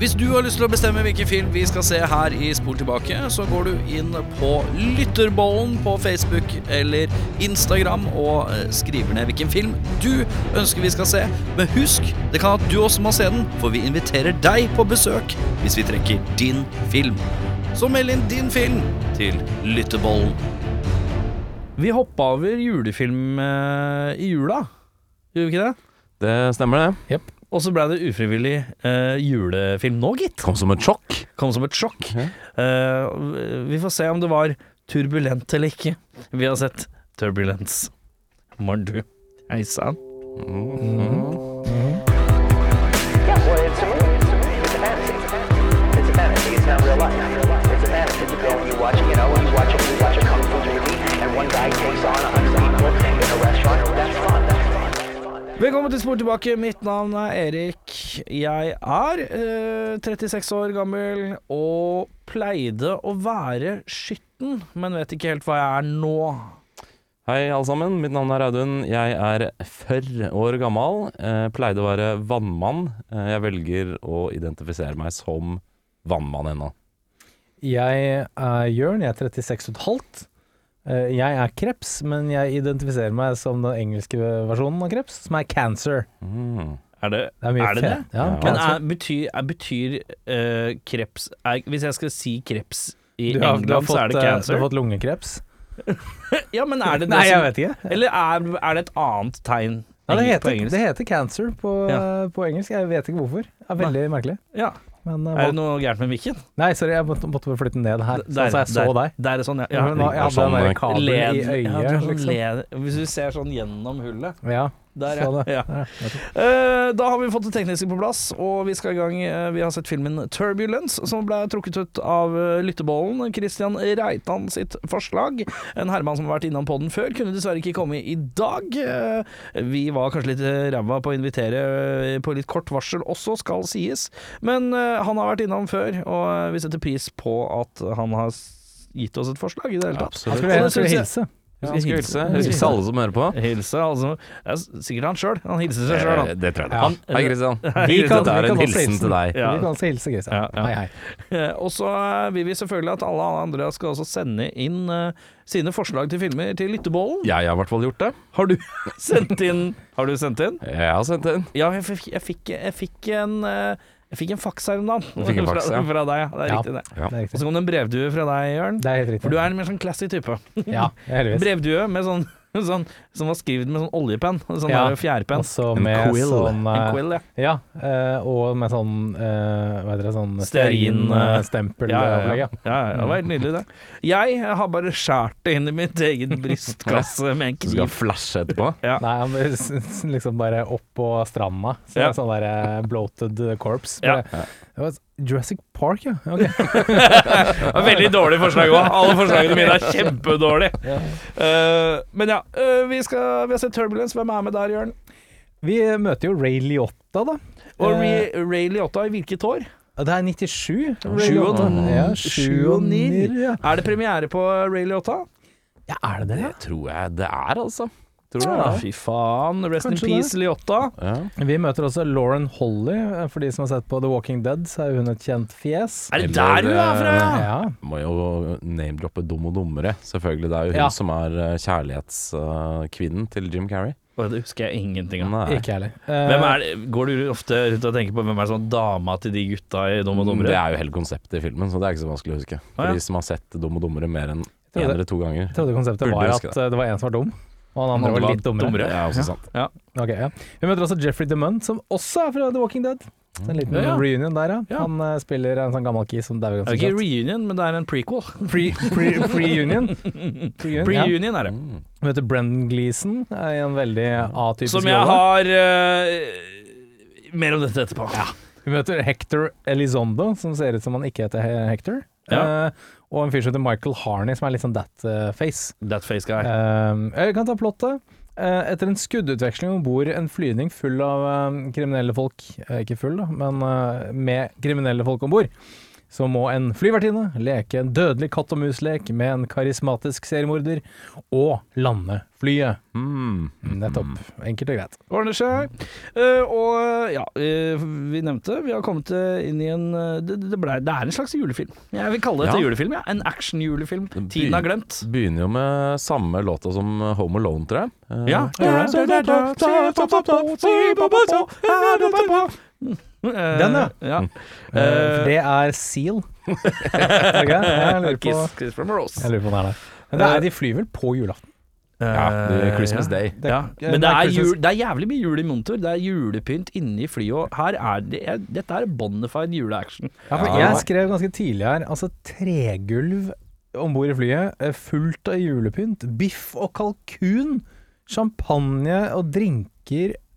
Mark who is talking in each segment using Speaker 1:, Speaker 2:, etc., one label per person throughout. Speaker 1: Hvis du har lyst til å bestemme hvilken film vi skal se her i Spol tilbake, så går du inn på Lytterbollen på Facebook eller Instagram og eh, skriver ned hvilken film du ønsker vi skal se. Men husk, det kan at du også må se den, for vi inviterer deg på besøk hvis vi trekker din film. Så meld inn din film til Lytterbollen. Vi hoppa over julefilm eh, i jula, gjorde vi ikke det?
Speaker 2: Det stemmer, det.
Speaker 1: Og så ble det ufrivillig eh, julefilm nå, gitt.
Speaker 2: Kom som et sjokk.
Speaker 1: Kom som et sjokk. Eh, vi får se om det var turbulent eller ikke. Vi har sett turbulence. Mardu. Hei sann.
Speaker 3: Yeah, well, it's a movie. It's a fantasy. It's a fantasy. It's not real life. It's a fantasy. You go and you watch, you know, you watch a, you watch a kung fu movie, and one guy takes on a hundred people in a restaurant. That's fun. That's fun.
Speaker 1: Velkommen til Spor tilbake. Mitt navn er Erik. Jeg er eh, 36 år gammel og pleide å være skytten, men vet ikke helt hva jeg er nå.
Speaker 2: Hei, alle sammen. Mitt navn er Audun. Jeg er 40 år gammel. Eh, pleide å være vannmann. Eh, jeg velger å identifisere meg som vannmann ennå.
Speaker 4: Jeg er Jørn, jeg er 36,5. Eh, Jeg er kreps, men jeg identifiserer meg som den engelske versjonen av kreps, som er cancer.
Speaker 2: Mm.
Speaker 1: Er det
Speaker 4: Det er, mye
Speaker 1: Er det
Speaker 4: fe-
Speaker 1: det?
Speaker 4: Ja, altså.
Speaker 2: Ja.
Speaker 1: Men
Speaker 4: cancer.
Speaker 1: er, betyr, er, betyr eh, kreps er, Hvis jeg skal si kreps i
Speaker 4: du har,
Speaker 1: England,
Speaker 4: du har
Speaker 1: så
Speaker 4: fått,
Speaker 1: er
Speaker 4: eh,
Speaker 1: det cancer?
Speaker 4: Du har fått lungekreps?
Speaker 1: Ja, men er det det
Speaker 4: Nei, jeg
Speaker 1: som-
Speaker 4: vet ikke.
Speaker 1: Eller er, er det et annet tegn
Speaker 4: Ja, det,
Speaker 1: på
Speaker 4: heter,
Speaker 1: engelsk?
Speaker 4: det heter cancer på, eh, på engelsk. Jeg vet ikke hvorfor. Det er veldig merkelig.
Speaker 1: Ja.
Speaker 4: Men, eh,
Speaker 1: Er det noe gærent med mikken?
Speaker 4: Nei, sorry, jeg måtte, måtte bare flytte den ned her, sånn at jeg så deg.
Speaker 1: Der er sånn, ja.
Speaker 4: Ja,
Speaker 1: ja.
Speaker 4: men da, jeg hadde
Speaker 2: Sånn,
Speaker 4: den der
Speaker 2: eh,
Speaker 4: kabelen i
Speaker 1: Led- ja, du har
Speaker 4: øyet,
Speaker 1: sånn
Speaker 4: liksom.
Speaker 1: led- Hvis du ser sånn gjennom hullet
Speaker 4: Ja,
Speaker 1: Der,
Speaker 4: så
Speaker 1: ja.
Speaker 4: det.
Speaker 1: ja.
Speaker 4: Sånn, Ja, nettopp.
Speaker 1: Eh, da har vi fått det tekniske på plass, og vi skal i gang. Eh, vi har sett filmen 'Turbulence', som ble trukket ut av eh, lyttebollen. Christian Reitan sitt forslag. En Herman som har vært innom podden før, kunne dessverre ikke komme i dag. Eh, vi var kanskje litt eh, ræva på å invitere eh, på litt kort varsel også, skal sies. Men eh, han har vært innom før, og eh, vi setter pris på at han har s- gitt oss et forslag i det hele tatt.
Speaker 4: Han
Speaker 2: Absolutt.
Speaker 4: skulle,
Speaker 1: Og
Speaker 4: han
Speaker 1: det
Speaker 4: skulle
Speaker 1: synes jeg-
Speaker 4: hilse.
Speaker 2: Ja, jeg skal hilse. Hilse alle som hører på.
Speaker 1: Hilse, altså. Ja, s- sikkert han sjøl. Han hilser seg sjøl,
Speaker 2: Eh,
Speaker 1: han.
Speaker 2: Det tror jeg.
Speaker 4: Ja.
Speaker 2: Han, hei, Christian.
Speaker 4: Vi
Speaker 2: Dette
Speaker 4: kan- vi
Speaker 2: er
Speaker 4: kan
Speaker 2: en
Speaker 4: også
Speaker 2: hilsen
Speaker 4: hilse.
Speaker 2: til deg.
Speaker 1: Ja.
Speaker 4: Vi kan også hilse Christian.
Speaker 1: Ja, ja.
Speaker 4: Hei, hei.
Speaker 1: Eh, Og så eh, vil vi selvfølgelig at alle andre skal også sende inn eh, sine forslag til filmer til lyttebollen.
Speaker 2: Jeg har i hvert fall gjort det.
Speaker 1: Har du sendt inn? Har du sendt inn?
Speaker 2: Jeg har sendt inn.
Speaker 1: Ja, jeg fikk, jeg fikk, jeg fikk en eh, jeg fikk en faks her om dagen.
Speaker 2: fikk en faks,
Speaker 1: fra,
Speaker 2: ja.
Speaker 1: fra deg, ja. Det er
Speaker 4: Ja.
Speaker 1: riktig, det.
Speaker 4: Det er
Speaker 1: Og
Speaker 4: riktig.
Speaker 1: så kom det en brevdue fra deg, Jørn.
Speaker 4: Det er helt
Speaker 1: For du
Speaker 4: riktig.
Speaker 1: er en mer sånn classy type.
Speaker 4: Ja, heldigvis.
Speaker 1: Brevdue med sånn, sånn som var skrevet med sånn oljepenn. Sånn
Speaker 4: Ja.
Speaker 1: der fjærpenn.
Speaker 4: Også
Speaker 2: En
Speaker 4: med
Speaker 2: quill.
Speaker 4: sånn
Speaker 1: En
Speaker 4: eh,
Speaker 1: quill, ja.
Speaker 4: Ja, eh, og med sånn eh, Hva heter det, sånn
Speaker 1: Stearin, eh,
Speaker 4: stearinstempel
Speaker 1: Ja, ja,
Speaker 4: opplegg,
Speaker 1: ja. ja, ja, det var helt nydelig, det. Jeg har bare skåret det inn i mitt egen brystkasse med en
Speaker 2: Du skal
Speaker 1: kniv.
Speaker 2: flashe etterpå.
Speaker 1: ja.
Speaker 4: Nei, han bare s- s- liksom bare opp på stranda. Så
Speaker 1: Ja.
Speaker 4: Sånn der eh, bloated corpse.
Speaker 1: Ja.
Speaker 4: Bare, Det var Jurassic Park, ja. Ok.
Speaker 1: Det var Veldig dårlig forslag òg. Alle forslagene mine er kjempedårlige. Eh, men ja, eh, vi, skal, vi har sett Turbulence. Hvem er med der, Jørn?
Speaker 4: Vi eh, møter jo Ray Liotta, da.
Speaker 1: Og
Speaker 4: Eh,
Speaker 1: Ray, Ray Liotta i hvilket år?
Speaker 4: det er 97.
Speaker 1: Sju og ni.
Speaker 4: Ja,
Speaker 1: Mm. Sju og ni.
Speaker 4: 7,9. Ja.
Speaker 1: Er det premiere på Ray Liotta?
Speaker 4: ja, er det det?
Speaker 2: Det tror jeg det er, altså. Tror du
Speaker 1: Ah,
Speaker 2: det?
Speaker 1: fy faen. Rest
Speaker 4: Kanskje
Speaker 1: in peace, Liotta.
Speaker 2: Ja.
Speaker 4: Vi møter også Lauren Holly. Eh, For de som har sett på The Walking Dead, så er hun et kjent fjes.
Speaker 1: Er det
Speaker 2: Eller,
Speaker 1: der hun er fra, ja?
Speaker 4: Ja.
Speaker 2: Må jo name-droppe Dum og dummere, selvfølgelig. Det er jo hun
Speaker 4: Ja.
Speaker 2: som er eh, kjærlighetskvinnen eh, til Jim Carrey.
Speaker 1: Å, Det husker jeg ingenting av.
Speaker 2: Nei.
Speaker 4: Ikke jeg heller.
Speaker 1: Hvem er det, går du ofte rundt og tenker på hvem er sånn dama til de gutta i Dum og
Speaker 2: Det
Speaker 1: Dummere?
Speaker 2: er jo hele konseptet i filmen, så det er ikke så vanskelig å huske. For
Speaker 1: Ah, ja.
Speaker 2: de som har sett Dum og dummere mer enn
Speaker 4: tror
Speaker 2: én
Speaker 4: det.
Speaker 2: eller to ganger.
Speaker 4: Jeg trodde konseptet
Speaker 2: Burde
Speaker 4: var at
Speaker 2: huske det.
Speaker 4: eh, det var en som var dum, og han andre
Speaker 1: Han
Speaker 4: var
Speaker 1: var
Speaker 4: litt dummere.
Speaker 1: dummere.
Speaker 2: Det er også sant.
Speaker 4: Ok, ja. Vi møter også Jeffrey DeMunt, som også er fra The Walking Dead. Så En liten
Speaker 2: Mm.
Speaker 1: Ja, ja.
Speaker 4: reunion der, ja.
Speaker 1: Ja.
Speaker 4: Han eh, spiller en sånn gammel kis som dauer
Speaker 1: Det er
Speaker 4: ganske
Speaker 1: ikke reunion, men det er en prequel.
Speaker 4: kjapt. Pre-union. Pre-union, ja.
Speaker 1: Pre-union er det.
Speaker 2: Mm.
Speaker 4: Vi møter Brendan Gleeson eh, i en veldig atypisk
Speaker 1: Som jeg
Speaker 4: rolle.
Speaker 1: har eh, Mer om dette etterpå.
Speaker 4: Vi møter Hector Elizondo, som ser ut som han ikke heter He- Hector.
Speaker 1: Ja.
Speaker 4: Eh, og en fyr som heter Michael Harney, som er litt sånn that eh, face.
Speaker 1: That face guy.
Speaker 4: Um, jeg kan ta plottet. Eh, etter en skuddutveksling om bord en flyvning ehm, full av eh, kriminelle folk eh, Ikke full, da, men eh, med kriminelle folk om bord, så må en flyvertinne leke en dødelig katt og mus-lek med en karismatisk seriemorder, og lande flyet.
Speaker 2: Mm.
Speaker 4: Nettopp. Enkelt og greit.
Speaker 1: Ordner seg. Eh, og ja, eh, vi nevnte Vi har kommet eh, inn i en eh, Det, det, ble, det er en slags julefilm. Jeg vil kalle det et
Speaker 2: Ja.
Speaker 1: julefilm. Ja. En action-julefilm.
Speaker 2: Den
Speaker 1: Tiden er
Speaker 2: begyn-
Speaker 1: glemt.
Speaker 2: Begynner jo med samme låta som Home Alone, tror jeg. Eh,
Speaker 1: Ja. Den,
Speaker 4: ja.
Speaker 1: Eh, ja. Mm.
Speaker 4: Eh,
Speaker 1: Eh,
Speaker 4: For det er Seal. Er det ikke? Jeg lurer på,
Speaker 1: Kiss, Kiss from a Rose.
Speaker 4: jeg lurer på om det er det. Men det er, de flyr vel på julaften?
Speaker 2: Ja, det er Christmas Day.
Speaker 4: Det-
Speaker 1: Eh, Ja.
Speaker 4: ja,
Speaker 1: Men
Speaker 4: det
Speaker 1: det
Speaker 4: er
Speaker 1: er,
Speaker 4: Christmas-
Speaker 1: jul, det er jævlig mye jul i monitor. Det er julepynt inni flyet. Og her er det, jeg, dette er bonafide juleaction.
Speaker 4: Ja, for
Speaker 2: Ja.
Speaker 4: jeg skrev ganske tidlig her Altså tregulv om bord i flyet, eh, fullt av julepynt, biff og kalkun, champagne og drinker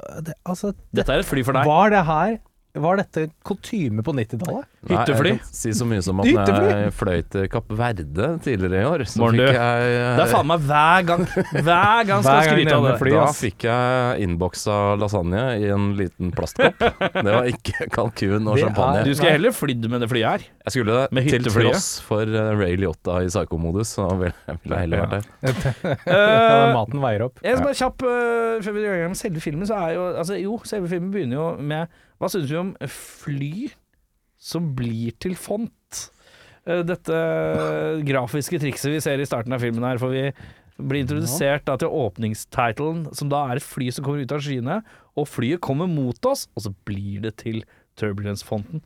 Speaker 4: Eh, det, Altså, det,
Speaker 1: Dette er et fly for deg.
Speaker 4: var det her Var dette kutyme på 90-tallet?
Speaker 2: Nei,
Speaker 1: Hyttefly.
Speaker 2: Jeg kan si så mye som at når
Speaker 4: Hyttefly.
Speaker 2: jeg fløy til Kapp Verde tidligere i år, så
Speaker 1: Morn, du.
Speaker 2: fikk jeg eh,
Speaker 1: Det er faen meg hver gang Hver gang skal
Speaker 4: Hver gang
Speaker 1: jeg skryte av
Speaker 4: nevner
Speaker 1: det.
Speaker 4: fly,
Speaker 2: Da
Speaker 4: ass.
Speaker 2: fikk jeg innboksa lasagne i en liten plastkopp. Det var ikke kalkun og
Speaker 4: Det er-
Speaker 2: champagne.
Speaker 1: Du skulle heller flydd med det flyet her.
Speaker 2: Jeg skulle det,
Speaker 1: Med
Speaker 2: til
Speaker 1: hytteflyet.
Speaker 2: tross for eh, Ray Liotta i psykomodus, så ville jeg ville heller vært der.
Speaker 4: Ja, maten veier opp.
Speaker 1: Eh, Jeg skal bare kjapp øh, Før vi går i gang med selve filmen, så er jo Altså, jo, selve filmen begynner jo med Hva syns vi om fly som blir til font? Eh, Dette grafiske trikset vi ser i starten av filmen her, for vi blir introdusert da til åpningstitlen, som da er et fly som kommer ut av skyene, og flyet kommer mot oss, og så blir det til Turbulence-fonten.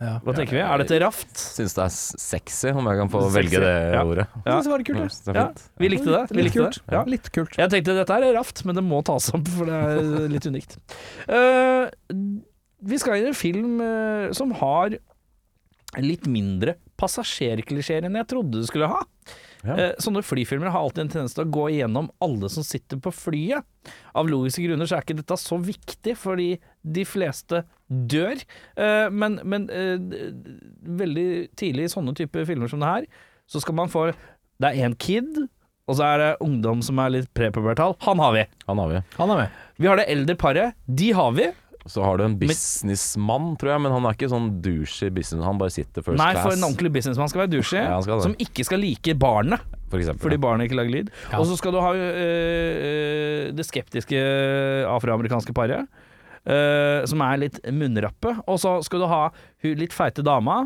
Speaker 4: Ja.
Speaker 1: Hva tenker vi? Er dette raft?
Speaker 2: Syns det er s- sexy, om jeg kan få
Speaker 1: Sexy,
Speaker 2: velge det
Speaker 1: ja.
Speaker 2: ordet.
Speaker 1: Ja.
Speaker 4: Så var det kult,
Speaker 2: Mm,
Speaker 4: det.
Speaker 2: så det er
Speaker 1: Ja,
Speaker 2: fint.
Speaker 1: vi likte det. Vi
Speaker 4: Litt
Speaker 1: likte
Speaker 4: kult.
Speaker 1: det. Ja.
Speaker 4: Litt kult.
Speaker 1: Jeg tenkte dette her er raft, men det må tas opp, for det er litt unikt. Eh, vi skal inn i en film eh, som har litt mindre passasjerklisjeer enn jeg trodde det skulle ha.
Speaker 2: Ja.
Speaker 1: Eh, sånne flyfilmer har alltid en tendens til å gå igjennom alle som sitter på flyet. Av logiske grunner så er ikke dette så viktig, fordi de fleste dør. Eh, men men eh, d- d- veldig tidlig i sånne typer filmer som det her, så skal man få Det er én kid, og så er det ungdom som er litt prepubertal. Han har vi.
Speaker 2: Han har vi.
Speaker 4: Han er med.
Speaker 1: Vi har det eldre paret. De har vi.
Speaker 2: Så har du en businessmann, tror jeg, men han er ikke sånn douchey business, han bare sitter first
Speaker 1: Nei,
Speaker 2: class.
Speaker 1: for en ordentlig businessmann skal være douche,
Speaker 2: Ja, han skal det.
Speaker 1: som ikke skal like barnet.
Speaker 2: for eksempel.
Speaker 1: Fordi barnet ikke lager lyd. Og så skal du ha øh, øh, det skeptiske afroamerikanske paret, øh, som er litt munnrappe. Og så skal du ha hun litt feite dama,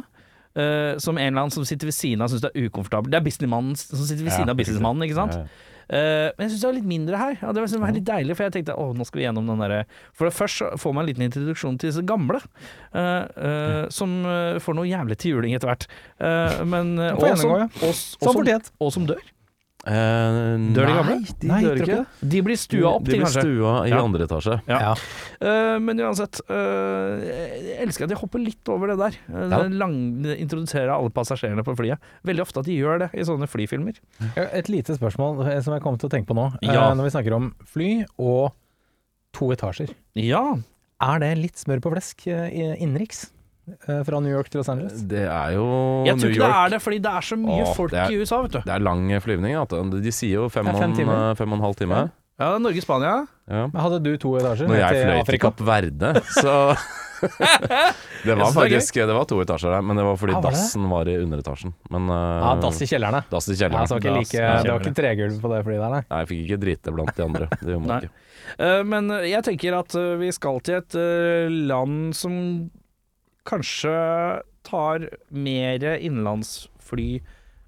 Speaker 1: øh, som en eller annen som sitter ved siden av syns det er ukomfortabel. Det er businessmannen som sitter ved
Speaker 2: Ja,
Speaker 1: siden av
Speaker 2: ikke sant.
Speaker 1: businessmannen, ikke sant.
Speaker 2: Ja, ja.
Speaker 1: Eh, men jeg syns det var litt mindre her. Ja, det var liksom litt deilig, for jeg tenkte å, nå skal vi gjennom den derre For det først så får man en liten introduksjon til disse gamle, eh, eh, som eh, får noe jævlig til juling etter hvert. Eh, men eh, og,
Speaker 4: Får
Speaker 1: som,
Speaker 4: gjennomgå, ja.
Speaker 1: og, s- og,
Speaker 4: Som
Speaker 1: som,
Speaker 4: fortjent.
Speaker 1: og som dør.
Speaker 2: Eh,
Speaker 1: Dør de gamle?
Speaker 2: Nei, de
Speaker 4: Nei,
Speaker 2: dør
Speaker 4: tror
Speaker 2: ikke.
Speaker 4: ikke
Speaker 1: De blir stua opp
Speaker 2: de
Speaker 1: til,
Speaker 2: blir
Speaker 1: kanskje.
Speaker 2: stua i
Speaker 1: Ja.
Speaker 2: andre etasje.
Speaker 1: Ja.
Speaker 4: Ja.
Speaker 1: Eh, men uansett, eh, jeg elsker at de hopper litt over det der. Eh,
Speaker 2: Ja.
Speaker 1: den lang, introdusere alle passasjerene på flyet. Veldig ofte at de gjør det i sånne flyfilmer.
Speaker 4: Et lite spørsmål eh, som jeg kom til å tenke på nå, eh,
Speaker 1: Ja.
Speaker 4: når vi snakker om fly og to etasjer.
Speaker 1: Ja,
Speaker 4: Er det litt smør på flesk eh, i- innenriks? eh, Fra New York til Los Angeles?
Speaker 2: Det er jo
Speaker 1: jeg tror
Speaker 2: New
Speaker 1: ikke det
Speaker 2: York.
Speaker 1: er det, fordi det er så mye
Speaker 2: Åh,
Speaker 1: folk
Speaker 2: det er-
Speaker 1: i USA, vet du.
Speaker 2: Det er lang flyvning. at De de sier jo fem,
Speaker 4: Ja, fem
Speaker 2: og en,
Speaker 4: timer.
Speaker 2: eh, fem og en halv time.
Speaker 1: Ja, Norge-Spania.
Speaker 2: Ja.
Speaker 4: Men Hadde du to
Speaker 2: Når
Speaker 4: etasjer? ned
Speaker 2: jeg
Speaker 4: til
Speaker 2: fløy til
Speaker 4: Afrika?
Speaker 2: Kapp Verde, så Det var
Speaker 1: synes det var
Speaker 2: faktisk det var to etasjer der, men det var fordi
Speaker 4: Ah, var det?
Speaker 2: dassen var i underetasjen. Men eh,
Speaker 4: Ja, dass i kjellerne.
Speaker 2: dass i
Speaker 4: Ja,
Speaker 2: kjelleren.
Speaker 4: så det var ikke, like,
Speaker 1: Dass i
Speaker 4: det var ikke tregulv på det flyet der, nei.
Speaker 2: Nei, jeg fikk ikke drite blant de andre. Det gjorde
Speaker 1: Nei.
Speaker 2: man ikke.
Speaker 1: Eh, Men eh, jeg tenker at eh, vi skal til et eh, land som kanskje tar mer innenlandsfly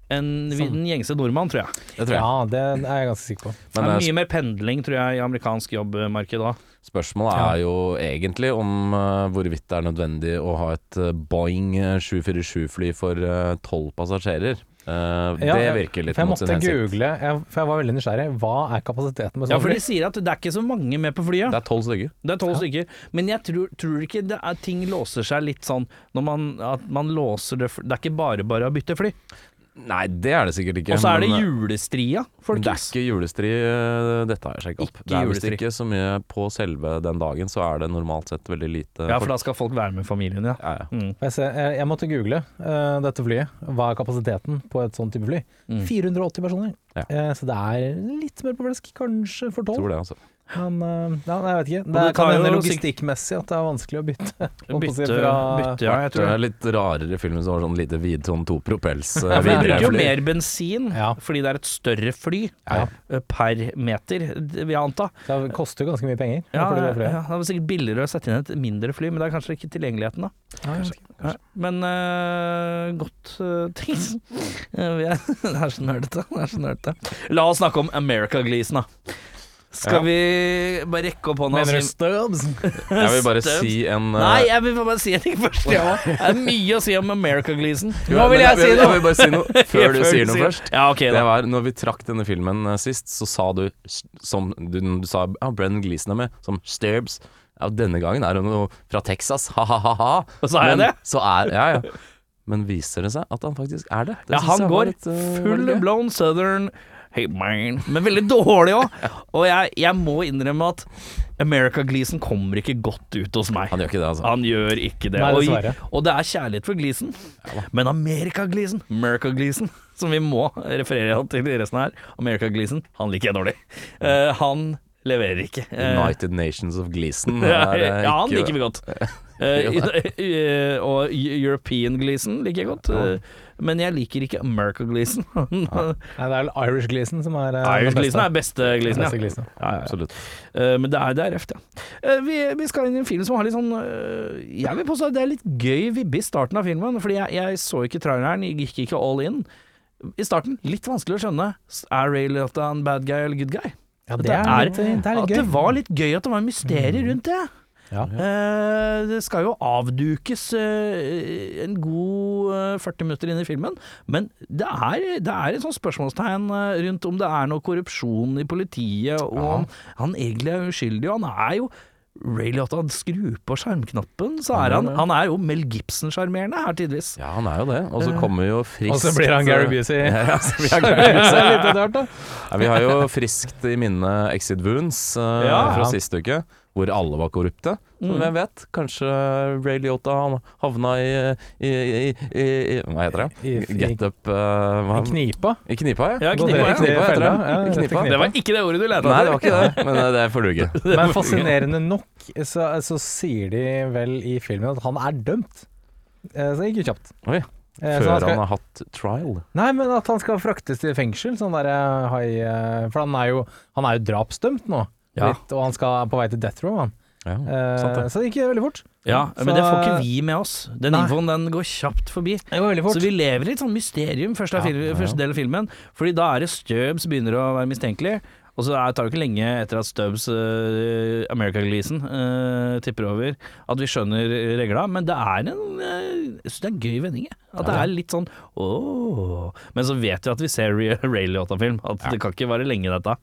Speaker 1: enn vi- den gjengse nordmann, tror jeg.
Speaker 2: Det tror jeg.
Speaker 4: Ja, det er jeg ganske sikker på.
Speaker 1: Det
Speaker 2: Men
Speaker 1: er
Speaker 2: eh,
Speaker 1: mye mer pendling, tror jeg, i amerikansk jobbmarked òg.
Speaker 2: Spørsmålet er jo egentlig om eh, hvorvidt det er nødvendig å ha et eh, Boeing 747-fly for eh, tolv passasjerer. Eh,
Speaker 4: Ja,
Speaker 2: det
Speaker 4: jeg-
Speaker 2: virker litt
Speaker 4: for jeg
Speaker 2: mot sin
Speaker 4: måtte
Speaker 2: hensikt.
Speaker 4: google, jeg, for jeg var veldig nysgjerrig. Hva er kapasiteten med
Speaker 1: Ja,
Speaker 4: sånn
Speaker 1: for
Speaker 4: fly?
Speaker 1: de sier at det er ikke så mange med på flyet.
Speaker 2: Det er tolv stykker.
Speaker 1: Det er tolv stykker. Men jeg tror, tror ikke det er, ting låser seg litt sånn når man, at man låser det f- Det er ikke bare bare å bytte fly.
Speaker 2: Nei, det er det sikkert ikke.
Speaker 1: Og så er det
Speaker 2: men, eh,
Speaker 1: julestria,
Speaker 2: men det er
Speaker 1: folkens.
Speaker 2: ikke julestri. eh, Dette har jeg sjekket opp.
Speaker 1: Ikke
Speaker 2: Det er visst
Speaker 1: julestri.
Speaker 2: ikke så mye på selve den dagen, så er det normalt sett veldig lite
Speaker 1: Ja, for da skal folk være med familien, ja.
Speaker 2: Ja, ja.
Speaker 1: Mm.
Speaker 4: Jeg, ser, jeg, jeg måtte google eh, dette flyet. Hva er kapasiteten på et sånt type fly?
Speaker 1: Mm.
Speaker 4: 480 personer.
Speaker 2: Ja.
Speaker 4: Eh, så det er litt smør på flesk, kanskje for
Speaker 2: Jeg
Speaker 4: 12.
Speaker 2: tror det, altså.
Speaker 4: Men eh, ja, nei, jeg vet ikke.
Speaker 2: du
Speaker 4: Det
Speaker 2: tar
Speaker 4: kan hende
Speaker 2: jo
Speaker 4: logistikkmessig at det er vanskelig å bytte. holdt på å si,
Speaker 2: Bytte,
Speaker 4: fra-
Speaker 2: bytte
Speaker 4: Ja, jeg
Speaker 2: hjerte.
Speaker 4: tror det.
Speaker 2: Litt rarere film som har sånn lite vid sånn topropels. eh,
Speaker 1: Ja, for de bruker jo
Speaker 2: vibrefly.
Speaker 1: mer bensin
Speaker 4: Ja.
Speaker 1: fordi det er et større fly
Speaker 4: Ja.
Speaker 1: eh, per meter, det vil jeg anta.
Speaker 4: Det koster jo ganske mye penger.
Speaker 1: Ja,
Speaker 4: fordi det er flere.
Speaker 1: ja, det var sikkert billigere å sette inn et mindre fly, men det er kanskje ikke tilgjengeligheten, da. Nei, Men eh, godt eh, ting. Eh, vi er- det er så nerdete. Det er så nerdete. La oss snakke om America-glisen, da. Skal
Speaker 2: Ja.
Speaker 1: vi bare rekke opp hånda? og si-
Speaker 4: Stubbs?
Speaker 2: Jeg vil bare si en eh,
Speaker 1: Nei, jeg vil bare si en ting først. Ja. Det er mye å si om America-glisen. Nå
Speaker 2: men
Speaker 1: vil jeg si
Speaker 2: Jeg
Speaker 1: noe.
Speaker 2: vil bare si noe før du sier noe først.
Speaker 1: Ja, ok
Speaker 2: Det
Speaker 1: da.
Speaker 2: var når vi trakk denne filmen eh, sist, så sa du s- som du, du sa ja, Brennan Gleeson er med, som Sturbs. Ja, denne gangen er hun jo fra Texas, ha-ha-ha.
Speaker 1: Og så er jeg det.
Speaker 2: Så er, ja, ja. Men viser det seg at han faktisk er det? det
Speaker 1: Ja,
Speaker 2: synes
Speaker 1: han
Speaker 2: jeg var
Speaker 1: går
Speaker 2: litt, eh,
Speaker 1: full
Speaker 2: veldig gøy.
Speaker 1: blown southern Hey man. Men veldig dårlig òg. Og jeg, jeg må innrømme at America Gleason kommer ikke godt ut hos meg.
Speaker 2: Han gjør ikke det, altså.
Speaker 1: Han gjør ikke det.
Speaker 4: Nei,
Speaker 1: og,
Speaker 4: dessverre.
Speaker 1: og det er kjærlighet for Gleason. Men America Gleason, America Gleason, som vi må referere til i resten her, America Gleason, han liker jeg dårlig. Eh, han leverer ikke. Eh,
Speaker 2: United Nations of Gleeson.
Speaker 1: ja,
Speaker 2: er, eh,
Speaker 1: ja, han
Speaker 2: ikke-
Speaker 1: liker vi godt. Eh, eh, og European Gleason liker jeg godt. eh, men jeg liker ikke America Gleason.
Speaker 4: Nei, det er vel Irish Gleason som er eh,
Speaker 1: Irish
Speaker 4: den
Speaker 1: Gleason er
Speaker 4: beste.
Speaker 1: beste Gleason,
Speaker 4: Beste
Speaker 1: ja.
Speaker 4: Gleason.
Speaker 1: Ja, ja, ja.
Speaker 2: Absolutt.
Speaker 1: Eh, Men det er, det er røft, ja. Eh, Vi, vi skal inn i en film som har litt sånn eh, Jeg vil påstå at det er litt gøy vibbe i starten av filmen, fordi jeg, jeg så ikke traileren, jeg gikk ikke all in. I starten, litt vanskelig å skjønne. Er Ray Liotta en bad guy eller good guy?
Speaker 4: Ja,
Speaker 1: Det
Speaker 4: det
Speaker 1: er-
Speaker 4: er litt, det er
Speaker 1: At
Speaker 4: litt
Speaker 1: det
Speaker 4: gøy. Mm.
Speaker 1: var litt gøy at det var mysterier rundt det.
Speaker 4: Ja.
Speaker 1: Eh, det skal jo avdukes eh, en god eh, 40 minutter inn i filmen, men det er, det er et sånt spørsmålstegn eh, rundt om det er noe korrupsjon i politiet, og om han egentlig er uskyldig. Og han er jo Ray Liotta skrur på skjermknappen, så er han, han er jo Mel Gibson-sjarmerende her tidvis.
Speaker 2: Ja, han er jo det. Og så kommer jo friskt
Speaker 4: Og så blir han Gary Busey.
Speaker 2: Ja, så blir han Gary
Speaker 4: Det
Speaker 2: Busey.
Speaker 4: er litt av hvert, da.
Speaker 2: Ja, vi har jo friskt i minne Exit Wounds eh,
Speaker 1: Ja.
Speaker 2: fra sist uke, hvor alle var korrupte. Så
Speaker 4: Mm.
Speaker 2: hvem vet? Kanskje Ray Liotta han havna i, i, i, i, i Hva heter det?
Speaker 4: I- i-
Speaker 2: Get up eh, hva?
Speaker 4: I knipa.
Speaker 2: I knipa, ja.
Speaker 1: Ja, knipa,
Speaker 2: I
Speaker 1: ja.
Speaker 2: knipa, heter det.
Speaker 4: Ja,
Speaker 2: I
Speaker 4: etter
Speaker 2: knipa.
Speaker 4: knipa.
Speaker 1: Det var ikke det ordet du lette
Speaker 2: Nei, det
Speaker 1: etter.
Speaker 2: var ikke det, men eh, det får duge.
Speaker 4: Men fascinerende nok så, så sier de vel i filmen at han er dømt. Eh, Så det gikk jo kjapt.
Speaker 2: Oi,
Speaker 4: Eh, så
Speaker 2: Før
Speaker 4: han skal,
Speaker 2: han har hatt trial.
Speaker 4: Nei, men at han skal fraktes til fengsel, sånn der eh, hai... eh, For han er jo, han er jo drapsdømt nå.
Speaker 2: Ja.
Speaker 4: Litt, og han skal på vei til death row, han.
Speaker 2: Ja,
Speaker 4: Eh,
Speaker 2: sant det.
Speaker 4: så det gikk veldig fort.
Speaker 1: Ja, men
Speaker 4: Så-
Speaker 1: det får ikke vi med oss. Den
Speaker 4: Nei.
Speaker 1: infoen den går kjapt forbi.
Speaker 4: Det går veldig
Speaker 1: Så vi lever i et sånt mysterium første, av
Speaker 2: Ja,
Speaker 1: fil-
Speaker 2: ja, ja.
Speaker 1: første del av filmen, fordi da er det Stubbs begynner å være mistenkelig. Og så er- tar det ikke lenge etter at Stubbs uh, America Gleason eh, tipper over, at vi skjønner regla. Men det er en eh, Jeg syns det er en gøy vending. jeg. At det er litt sånn ååå. Men så vet vi at vi ser Ray- Ray Liotta-film. At det kan ikke vare lenge, dette.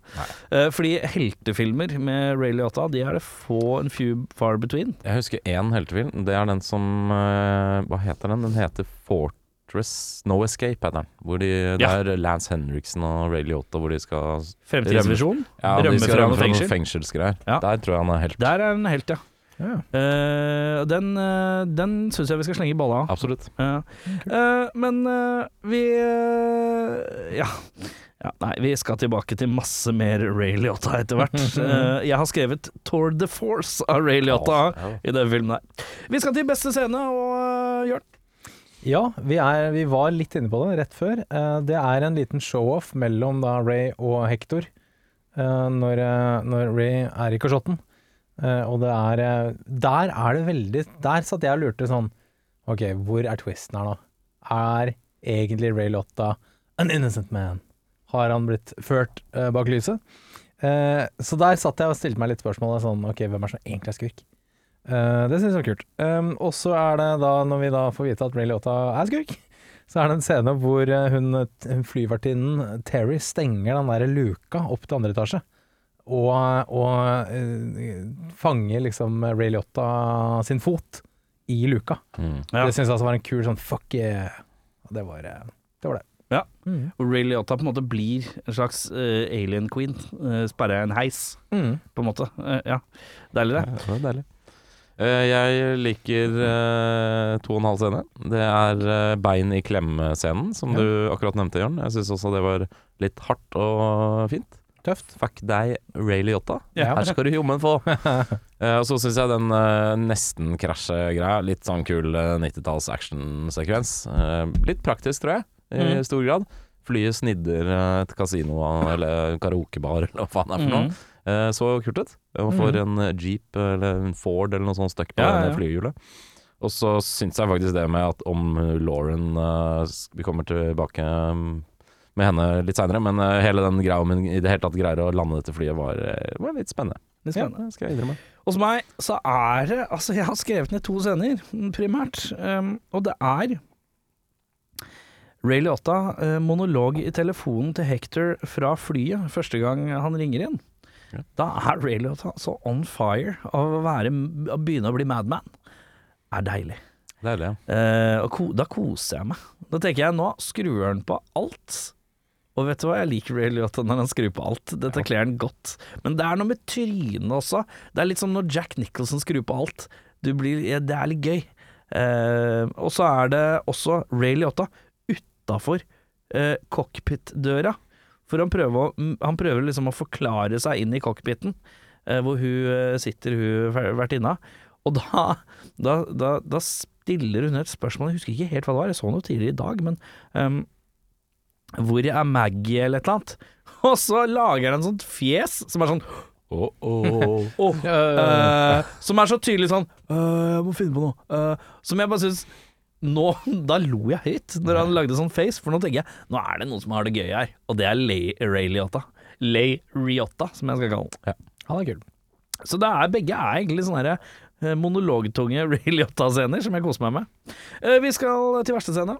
Speaker 1: Eh, fordi heltefilmer med Ray Liotta, de er det få and few far between.
Speaker 2: Jeg husker én heltefilm. Det er den som eh, Hva heter den? Den heter Fortress No Escape, heter den. Hvor de, det
Speaker 1: Ja.
Speaker 2: er Lance Henriksen og Ray Liotta hvor de skal
Speaker 1: Fremtidsvisjon.
Speaker 2: Ja, de
Speaker 1: Rømme
Speaker 2: skal
Speaker 1: fra
Speaker 2: rømme
Speaker 1: noe
Speaker 2: fra
Speaker 1: fengsel.
Speaker 2: noen fengselsgreier.
Speaker 1: Ja.
Speaker 2: Der tror jeg han er helt
Speaker 1: Der er en helt, ja.
Speaker 4: Ja.
Speaker 1: Eh, og den uh, den syns jeg vi skal slenge i balla av.
Speaker 2: Absolutt.
Speaker 1: Ja. Eh, men eh, vi eh, ja. ja. Nei, vi skal tilbake til masse mer Ray Liotta etter hvert. Eh, jeg har skrevet 'Toward the Force' av Ray Liotta i den filmen her. Vi skal til beste scene, og uh, Jørn
Speaker 4: Ja, vi, er, vi var litt inne på det rett før. Eh, det er en liten show-off mellom da Ray og Hector eh, når, eh, når Ray er i kasjotten. Eh, og det er eh, Der er det veldig Der satt jeg og lurte sånn OK, hvor er twisten her nå? Er egentlig Ray Lotta an innocent man? Har han blitt ført eh, bak lyset? Eh, så der satt jeg og stilte meg litt spørsmålet sånn OK, hvem er som egentlig er skurk? Eh, det synes jeg var kult. Um, og så er det da, når vi da får vite at Ray Liotta er skurk, så er det en scene hvor eh, hun eh, flyvertinnen Terry stenger den der luka opp til andre etasje. Og, og eh, fanger liksom Ray Liotta sin fot i luka.
Speaker 2: Mm.
Speaker 1: Ja.
Speaker 4: Det synes jeg altså var en kul sånn fuck yeah. Og det var eh, det. Var det.
Speaker 1: Ja.
Speaker 4: Mm.
Speaker 1: og Ray Liotta på en måte blir en slags eh, alien queen. Uh, Sperra i en heis,
Speaker 4: Mm.
Speaker 1: på en måte. Eh, ja. Deilig, det.
Speaker 2: Ja, det var deilig. Eh, jeg liker eh, to og en halv scene. Det er eh, bein i klemme-scenen, som du akkurat nevnte, Jørn. Jeg syns også det var litt hardt og fint.
Speaker 4: Tøft.
Speaker 2: Fuck deg, Ray Liotta.
Speaker 4: Ja.
Speaker 2: Her skal du jommen få. Eh, og så syns jeg den eh, nesten-krasje-greia, litt sånn kul eh, 90-talls actionsekvens. Eh, litt praktisk, tror jeg, i
Speaker 1: Mhm.
Speaker 2: stor grad. Flyet snidder eh, et kasino eller karaokebar eller hva faen det er
Speaker 1: Mm.
Speaker 2: for noe. Eh, så kult ut. Og for en eh, Jeep eller en Ford eller noe sånt støkk på
Speaker 1: Ja, ja, ja.
Speaker 2: det flyhjulet. Og så syns jeg faktisk det med at om Lauren eh, s- Vi kommer tilbake mm, med henne litt seinere, men eh, hele den greia om hun i det hele tatt greier å lande dette flyet, var, eh, var litt spennende.
Speaker 1: Det er spennende.
Speaker 2: Ja, det skal jeg innrømme.
Speaker 1: Hos meg så er det Altså, jeg har skrevet ned to scener, mm, primært. Um, og det er Ray Liotta, eh, monolog i telefonen til Hector fra flyet første gang han ringer inn.
Speaker 2: Ja.
Speaker 1: Da er Ray Liotta så on fire av å, være, å begynne å bli madman. Er deilig.
Speaker 2: Deilig. ja.
Speaker 1: Eh, og ko, da koser jeg meg. Da tenker jeg nå skrur han på alt. Og vet du hva, jeg liker Ray Liotta når han skrur på alt. Dette kler han godt. Men det er noe med trynet også. Det er litt som når Jack Nicholson skrur på alt. Du blir, ja, det er litt gøy. Eh, og så er det også Ray Liotta utafor uh, cockpit-døra. For han prøver, å, han prøver liksom å forklare seg inn i cockpiten, eh, hvor hun eh, sitter, hun vertinna. Og da, da, da, da stiller hun et spørsmål, jeg husker ikke helt hva det var, jeg så noe tidligere i dag, men ehm, hvor er Maggie eller et eller annet? Og så lager han et sånt fjes som er sånn
Speaker 2: Åh, åh.
Speaker 1: «Åh», eh, Som er så tydelig sånn «Øh, Jeg må finne på noe. eh», som jeg bare syns nå, Da lo jeg høyt når han lagde sånn face, for nå tenker jeg nå er det noen som har det gøy her, og det er Lay Ray Liotta. Lay Riotta, som jeg skal kalle han.
Speaker 4: Han er kul.
Speaker 1: Så det er, begge er egentlig sånne her, eh, monologtunge Ray Liotta-scener som jeg koser meg med. Eh, Vi skal til verste scene.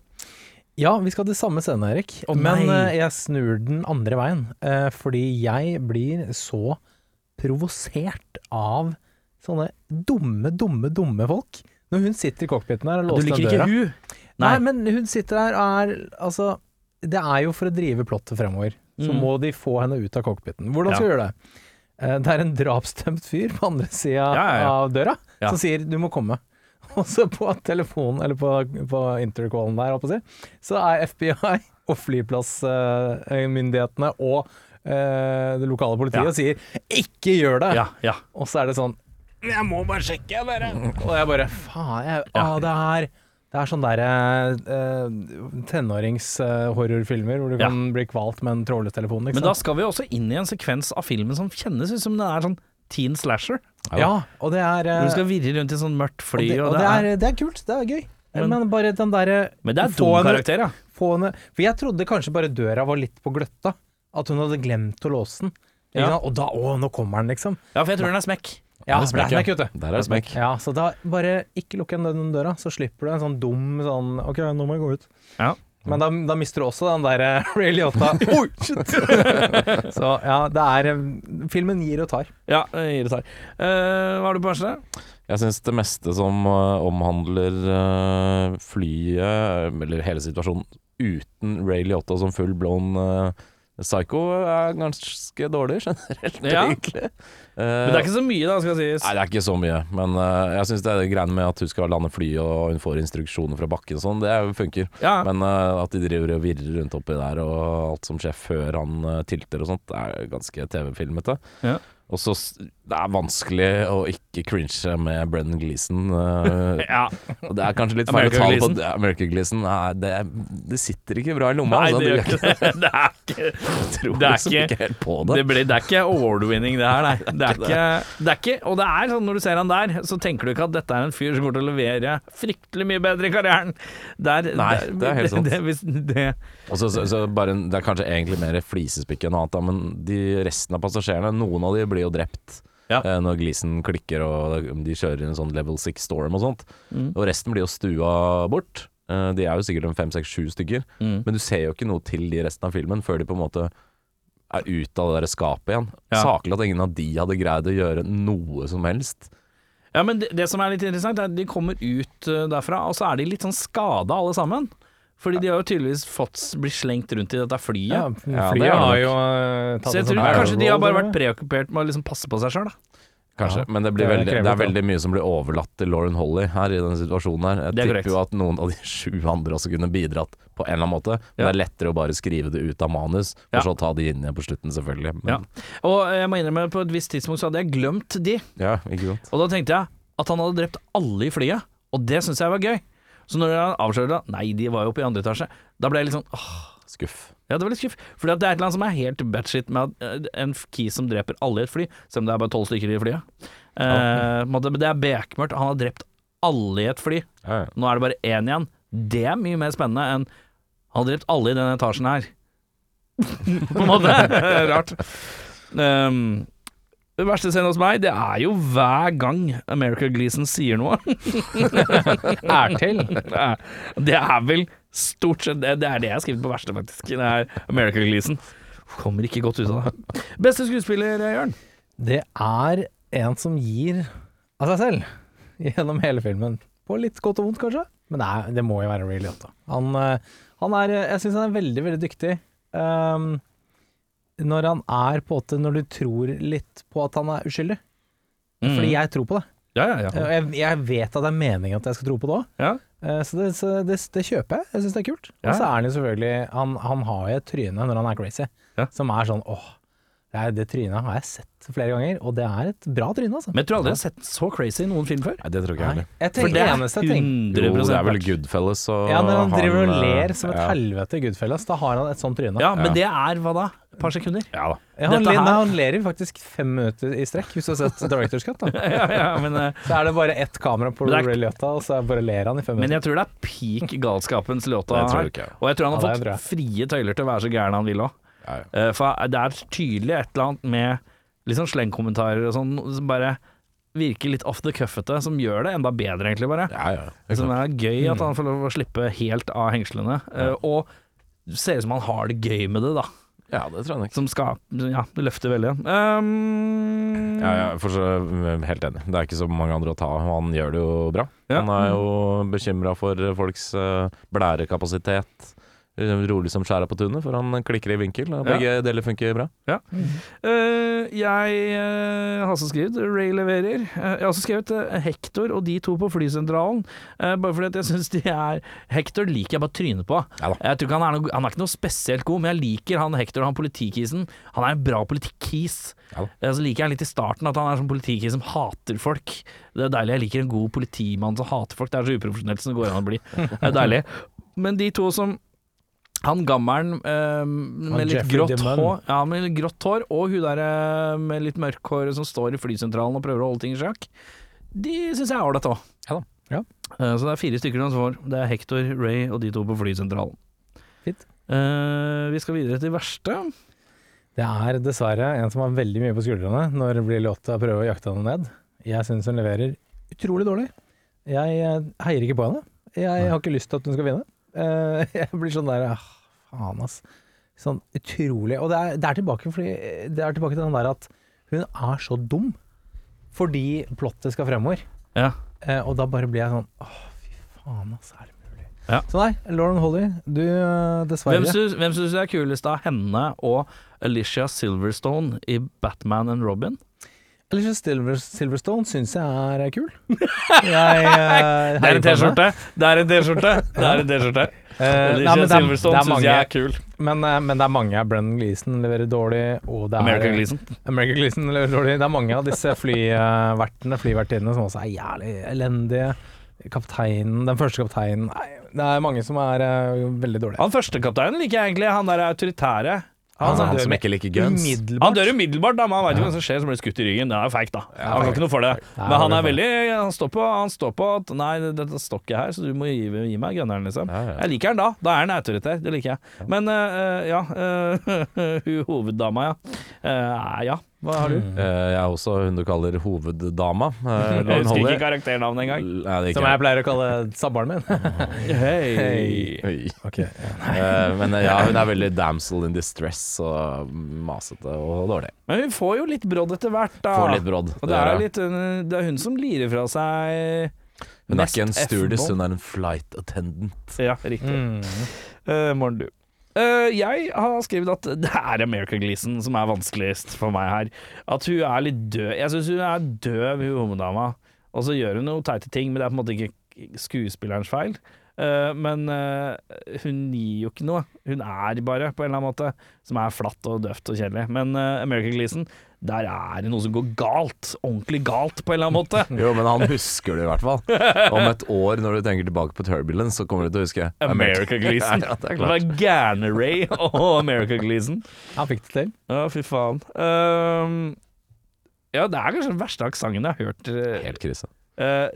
Speaker 4: Ja, vi skal til samme scene, Erik.
Speaker 1: Å,
Speaker 4: men
Speaker 1: nei.
Speaker 4: eh, jeg snur den andre veien. eh, fordi jeg blir så provosert av sånne dumme, dumme, dumme folk. Når hun sitter i cockpiten der og
Speaker 1: Du
Speaker 4: låser
Speaker 1: liker
Speaker 4: den
Speaker 1: ikke
Speaker 4: døra.
Speaker 1: hun?
Speaker 4: Nei.
Speaker 1: Nei.
Speaker 4: men hun sitter der og er Altså, det er jo for å drive plottet fremover. Så
Speaker 1: Mm.
Speaker 4: må de få henne ut av cockpiten. Hvordan skal vi gjøre det? Eh, Det er en drapsdømt fyr på andre sida
Speaker 1: Ja, ja, ja.
Speaker 4: av døra
Speaker 1: Ja.
Speaker 4: som sier 'du må komme'. Og så på telefonen, eller på, på intercallen der, holdt jeg på å si, så er FBI og flyplassmyndighetene og eh, det lokale politiet
Speaker 1: Ja.
Speaker 4: og sier 'ikke gjør det'.
Speaker 1: Ja, ja.
Speaker 4: Og så er det sånn Jeg må bare sjekke, jeg bare. Og jeg bare Faen, jeg ah, det, er, det er sånn derre eh, tenåringshorrorfilmer hvor du
Speaker 1: Ja.
Speaker 4: kan bli kvalt med en trådløs telefon, ikke
Speaker 1: Men da
Speaker 4: sant?
Speaker 1: skal vi også inn i en sekvens av filmen som kjennes ut som den er sånn teen slasher.
Speaker 4: ja, og det er eh,
Speaker 1: Hvor du skal virre rundt i sånn mørkt
Speaker 4: og
Speaker 1: fly,
Speaker 4: det, og det, er, det er kult, det er gøy.
Speaker 1: Men-
Speaker 4: Men, bare den derre
Speaker 1: Men det er
Speaker 4: få
Speaker 1: dum
Speaker 4: henne-
Speaker 1: karakter, ja.
Speaker 4: få henne- For jeg trodde kanskje bare døra var litt på gløtta. At hun hadde glemt å låse den. Ikke
Speaker 1: Ja.
Speaker 4: sant? Og da Å, nå kommer den, liksom.
Speaker 1: Ja, for jeg tror den er smekk.
Speaker 4: Ja,
Speaker 2: det er
Speaker 4: for det er
Speaker 2: smekk,
Speaker 4: smekk, vet du.
Speaker 2: Der er det smekk.
Speaker 4: Ja, så da bare ikke lukk igjen den døra, så slipper du en sånn dum sånn OK, nå må jeg gå ut.
Speaker 1: Ja.
Speaker 4: Men da, da mister du også den derre Ray Liotta Oi, shit! så ja, det er eh, Filmen gir og tar.
Speaker 1: Ja, jeg gir det tar. Eh, hva har du på verste?
Speaker 2: Jeg syns det meste som eh, omhandler eh, flyet, eh, eller hele situasjonen uten Ray Liotta som full blown eh, psycho, er ganske dårlig generelt,
Speaker 1: Ja.
Speaker 2: egentlig. Eh,
Speaker 1: Men det er ikke så mye, da, skal sies.
Speaker 2: Nei, det er ikke så mye, men eh, jeg syns det er greiene med at hun skal lande flyet og hun får instruksjoner fra bakken og sånn, det er- funker.
Speaker 1: Ja.
Speaker 2: Men eh, at de driver og virrer rundt oppi der og alt som skjer før han eh, tilter og sånt, det er ganske TV-filmete.
Speaker 1: Ja.
Speaker 2: Og så s- Det er vanskelig å ikke cringe med Brennan Gleeson. eh,
Speaker 1: ja.
Speaker 2: og det er kanskje litt feil å
Speaker 1: America
Speaker 2: tale på
Speaker 1: Gleeson.
Speaker 2: ja, America Gleeson. Nei, det, det sitter ikke bra i lomma.
Speaker 1: Nei,
Speaker 2: altså.
Speaker 1: det
Speaker 2: Du-
Speaker 1: gjør ikke det. Det er ikke
Speaker 2: tror
Speaker 1: det er
Speaker 2: liksom
Speaker 1: ikke-
Speaker 2: ikke helt på det.
Speaker 1: det, ble, det er ikke award-winning, det her, nei. Det er ikke, det er ikke, og det er sånn når du ser han der, så tenker du ikke at dette er en fyr som kommer til å levere fryktelig mye bedre i karrieren. Der,
Speaker 2: Nei,
Speaker 1: der-
Speaker 2: det er helt sant.
Speaker 1: Det, hvis- det,
Speaker 2: Og så, så, så bare, en- det er kanskje egentlig mer flisespikk enn annet, da, men de resten av passasjerene, noen av de blir jo drept
Speaker 1: Ja.
Speaker 2: eh, når Gleason klikker og de kjører en sånn level 6 storm og sånt.
Speaker 1: Mm.
Speaker 2: Og resten blir jo stua bort. Eh, de er jo sikkert en fem, seks, sju stykker.
Speaker 1: Mm.
Speaker 2: Men du ser jo ikke noe til de resten av filmen før de på en måte er ute av det der skapet igjen.
Speaker 1: Ja.
Speaker 2: Saklig at ingen av de hadde greid å gjøre noe som helst.
Speaker 1: Ja, men det, det som er litt interessant, er at de kommer ut eh, derfra, og så er de litt sånn skada alle sammen. Fordi de har jo tydeligvis fått bli slengt rundt i dette flyet.
Speaker 4: Ja,
Speaker 2: det er
Speaker 4: flyet
Speaker 2: det
Speaker 4: har
Speaker 2: nok.
Speaker 4: jo eh, tatt
Speaker 1: så jeg
Speaker 4: en sånn
Speaker 1: tror
Speaker 4: barrel
Speaker 1: kanskje de har bare
Speaker 4: roll,
Speaker 1: vært preokkupert med å liksom passe på seg sjøl, da.
Speaker 2: Kanskje,
Speaker 4: Ja,
Speaker 2: men det, blir
Speaker 4: det
Speaker 2: veldig,
Speaker 4: krever
Speaker 2: det er
Speaker 4: litt, da.
Speaker 2: veldig mye som blir overlatt til Lauren Holly her i denne situasjonen her. Jeg
Speaker 1: Det er
Speaker 2: tipper
Speaker 1: korrekt.
Speaker 2: jo at noen av de sju andre også kunne bidratt på en eller annen måte. Men
Speaker 1: Ja.
Speaker 2: det er lettere å bare skrive det ut av manus, for
Speaker 1: Ja.
Speaker 2: så å ta de inn igjen på slutten, selvfølgelig.
Speaker 1: Ja.
Speaker 2: Men,
Speaker 1: Og eh, jeg må innrømme, på et visst tidspunkt så hadde jeg glemt de.
Speaker 2: ja. ikke sant.
Speaker 1: Og da tenkte jeg at han hadde drept alle i flyet, og det syns jeg var gøy. Så når han avslørte at nei, de var jo oppe i andre etasje, da ble jeg litt sånn åh,
Speaker 2: Skuff.
Speaker 1: ja, det var litt skuff. Fordi at det er et eller annet som er helt batshit med at eh, en kis som dreper alle i et fly, selv om det er bare tolv stykker i flyet. Eh, på en måte, men det er bekmørkt. Han har drept alle i et fly.
Speaker 2: Ja, ja.
Speaker 1: Nå er det bare én igjen. Det er mye mer spennende enn han har drept alle i denne etasjen her. På en måte. Rart. Um, det verste scenen hos meg, det er jo hver gang America Gleason sier noe. er til. Det er vel stort sett Det det er det jeg har skrevet på verste, faktisk. Det er America Gleason. Kommer ikke godt ut av det. Beste skuespiller, eh, Jørn?
Speaker 4: Det er en som gir av seg selv gjennom hele filmen. På litt godt og vondt, kanskje. Men nei, det må jo være Ray Liotta. Han, eh, han er Jeg syns han er veldig, veldig dyktig. Ehm, når han er på en måte Når du tror litt på at han er uskyldig. Fordi jeg tror på det.
Speaker 1: Mm. Ja, ja,
Speaker 4: Og
Speaker 1: ja.
Speaker 4: Jeg, jeg vet at det er meningen at jeg skal tro på det òg.
Speaker 1: ja.
Speaker 4: Så, det, så det, det kjøper jeg. Jeg syns det er kult.
Speaker 1: Ja.
Speaker 4: Og så er han jo selvfølgelig Han, han har jo et tryne når han er crazy,
Speaker 1: Ja.
Speaker 4: som er sånn åh. Det, er, det trynet har jeg sett flere ganger, og det er et bra tryne, altså.
Speaker 1: Men jeg tror aldri jeg har sett den så crazy i noen film før.
Speaker 2: Nei, det tror ikke jeg
Speaker 4: Nei,
Speaker 2: heller.
Speaker 4: jeg tenker, det eneste jeg tenker
Speaker 2: Jo,
Speaker 1: 100%
Speaker 2: det er vel
Speaker 1: verdt.
Speaker 2: Goodfellas og
Speaker 4: Ja, når han driver og
Speaker 2: eh,
Speaker 4: ler som et
Speaker 2: ja.
Speaker 4: helvete i Goodfellas, da har han et sånt tryne.
Speaker 1: Ja, men det er hva da? Et par sekunder?
Speaker 2: Ja da.
Speaker 4: Ja, han,
Speaker 1: dette
Speaker 4: ler,
Speaker 1: her-
Speaker 4: nei, han ler i faktisk fem minutter i strekk, hvis du har sett Director's Cut. Da.
Speaker 1: ja, ja, men, eh,
Speaker 4: Så er det bare ett kamera på
Speaker 1: Men det er-
Speaker 4: Ray Liotta, og så bare ler han i fem
Speaker 1: men
Speaker 4: minutter.
Speaker 1: jeg tror det er peak galskapens låta
Speaker 2: Det tror
Speaker 1: her.
Speaker 2: ikke jeg.
Speaker 1: Og jeg tror han har
Speaker 4: Ja, det tror jeg.
Speaker 1: fått frie tøyler til å være så gæren han vil òg.
Speaker 2: Ja, ja.
Speaker 1: For det er tydelig et eller annet med litt sånn slengkommentarer og sånn som bare virker litt off the cuffete, som gjør det enda bedre, egentlig, bare.
Speaker 2: ja, ja. Ikke
Speaker 1: Som
Speaker 2: sant. Mm.
Speaker 1: er gøy at han får lov å slippe helt av hengslene. eh, Og ser ut som han har det gøy med det, da.
Speaker 2: ja, det tror jeg nok.
Speaker 1: Som skal Ja, det løfter veldig. Um,
Speaker 2: Ja, ja, for så, eh, helt enig. Det er ikke så mange andre å ta av. Han gjør det jo bra.
Speaker 1: Ja.
Speaker 2: Han er jo bekymra for folks eh, blærekapasitet. Rolig som skjæra på tunet, for han klikker i vinkel.
Speaker 1: Ja.
Speaker 2: og Begge deler funker bra.
Speaker 1: Eh, jeg eh, har også skrevet Ray leverer. Eh, jeg har også skrevet eh, Hector og de to på flysentralen. eh, bare fordi at jeg syns de er Hector liker jeg bare trynet på.
Speaker 2: Ja da.
Speaker 1: Jeg tror ikke han, er noe, han er ikke noe spesielt god, men jeg liker han Hector, han politikisen. Han er en bra politikkis.
Speaker 2: Ja da.
Speaker 1: Eh, så liker jeg litt i starten at han er sånn politikis som hater folk. Det er deilig. Jeg liker en god politimann som hater folk. Det er så uprofesjonelt som det går an å bli. Det er deilig. Men de to som han gammelen eh, med litt
Speaker 4: Jeffrey
Speaker 1: grått
Speaker 4: Dimon.
Speaker 1: hår, ja, med litt grått hår og hun der eh, med litt mørkt hår som står i flysentralen og prøver å holde ting i sjakk, de syns jeg er ålreit òg.
Speaker 2: Ja da.
Speaker 4: Ja.
Speaker 1: Så det er fire stykker som får. Det er Hector, Ray og de to på flysentralen.
Speaker 4: Fint.
Speaker 1: Eh, vi skal videre til verste.
Speaker 4: Det er dessverre en som har veldig mye på skuldrene når Ray Liotta prøver å jakte henne ned. Jeg syns hun leverer utrolig dårlig. Jeg eh, heier ikke på henne. Jeg har ikke lyst til at hun skal vinne. Eh, Jeg blir sånn der ah, Faen, ass. Sånn utrolig Og det er, det, er tilbake, fordi, det er tilbake til den der at hun er så dum fordi plottet skal fremover.
Speaker 1: Ja.
Speaker 4: Eh, og da bare blir jeg sånn Åh, fy faen, ass. Er det mulig?
Speaker 1: Ja.
Speaker 4: Så nei, Lauren Holly, du eh, dessverre
Speaker 1: Hvem syns hvem syns du er kulest av henne og Alicia Silverstone i Batman and Robin?
Speaker 4: Alicia Silver, Silverstone syns jeg er kul. Jeg, eh, heier på
Speaker 1: Det er
Speaker 4: henne.
Speaker 1: en T-skjorte! Det er en T-skjorte.
Speaker 4: Eh, nei,
Speaker 1: Alicia
Speaker 4: men det er- det
Speaker 1: Silverstone
Speaker 4: er
Speaker 1: syns
Speaker 4: mange-
Speaker 1: jeg er kul.
Speaker 4: Men, eh, men det er mange. Brennan Gleeson leverer dårlig, og det er
Speaker 1: American Gleason.
Speaker 4: American Gleeson leverer dårlig. Det er mange av disse flyvertene, flyvertinnene, som også er jævlig elendige. Kapteinen, den første kapteinen Nei, det er mange som er eh, veldig dårlige.
Speaker 1: Han førstekapteinen liker jeg egentlig, han der autoritære.
Speaker 2: Han,
Speaker 4: som
Speaker 2: er han
Speaker 4: dør
Speaker 2: som
Speaker 4: med
Speaker 2: ikke liker guns.
Speaker 4: Umiddelbart.
Speaker 1: Han dør umiddelbart, da, men han veit ikke hva som skjer, så blir det skutt i ryggen. Det er jo fake, da. Han kan ikke noe for det.
Speaker 4: Nei,
Speaker 1: Men han
Speaker 4: det
Speaker 1: er
Speaker 4: er
Speaker 1: veldig Han står på, han står på at Nei, dette står ikke her, så du må gi, gi meg gunneren, liksom.
Speaker 2: Ja, ja.
Speaker 1: Jeg liker han da. Da er han autoritær. Det liker jeg. Men eh, ja eh, Hun hoveddama, ja. Eh, ja. Hva har du?
Speaker 2: Eh, jeg er også hun du kaller hoveddama. Uh,
Speaker 1: Jeg husker ikke karakternavnet engang.
Speaker 2: Nei, det er
Speaker 4: Som
Speaker 2: ikke
Speaker 4: jeg pleier å kalle sabbaren min.
Speaker 1: Hei.
Speaker 2: Oi.
Speaker 4: okay.
Speaker 2: Eh, men eh, ja, hun er veldig damsel in distress og masete og dårlig.
Speaker 1: Men hun får jo litt brodd etter hvert, da.
Speaker 2: Får litt brodd.
Speaker 1: Og
Speaker 2: det
Speaker 1: det
Speaker 2: gjør
Speaker 1: er,
Speaker 2: hun.
Speaker 1: litt, eh, det er hun som lirer fra seg
Speaker 2: hun er ikke en
Speaker 1: mest
Speaker 2: stewardess,
Speaker 1: F-bomb.
Speaker 2: hun er en flight attendant.
Speaker 1: Ja, riktig.
Speaker 4: Mm.
Speaker 1: Eh, morgen, du. Eh, jeg har skrevet at det er America Gleason som er vanskeligst for meg her. At hun er litt død. Jeg syns hun er døv, hun homodama. Og så gjør hun noen teite ting, men det er på en måte ikke skuespillerens feil. Eh, men eh, hun gir jo ikke noe. Hun er bare, på en eller annen måte, som er flatt og døvt og kjedelig. Men eh, America Gleason, der er det noe som går galt. Ordentlig galt, på en eller annen måte.
Speaker 2: Jo, men han husker det i hvert fall. Om et år, når du tenker tilbake på Turbulence, så kommer du til å huske
Speaker 1: America Gleason.
Speaker 2: Ja, det er
Speaker 1: Det
Speaker 2: klart.
Speaker 1: var Gærne-Ray og America Gleason.
Speaker 4: Han fikk det til.
Speaker 1: Ja, fy faen. Ehm, ja, det er kanskje den verste aksenten jeg har hørt. eh,
Speaker 2: Helt krise.
Speaker 1: eh,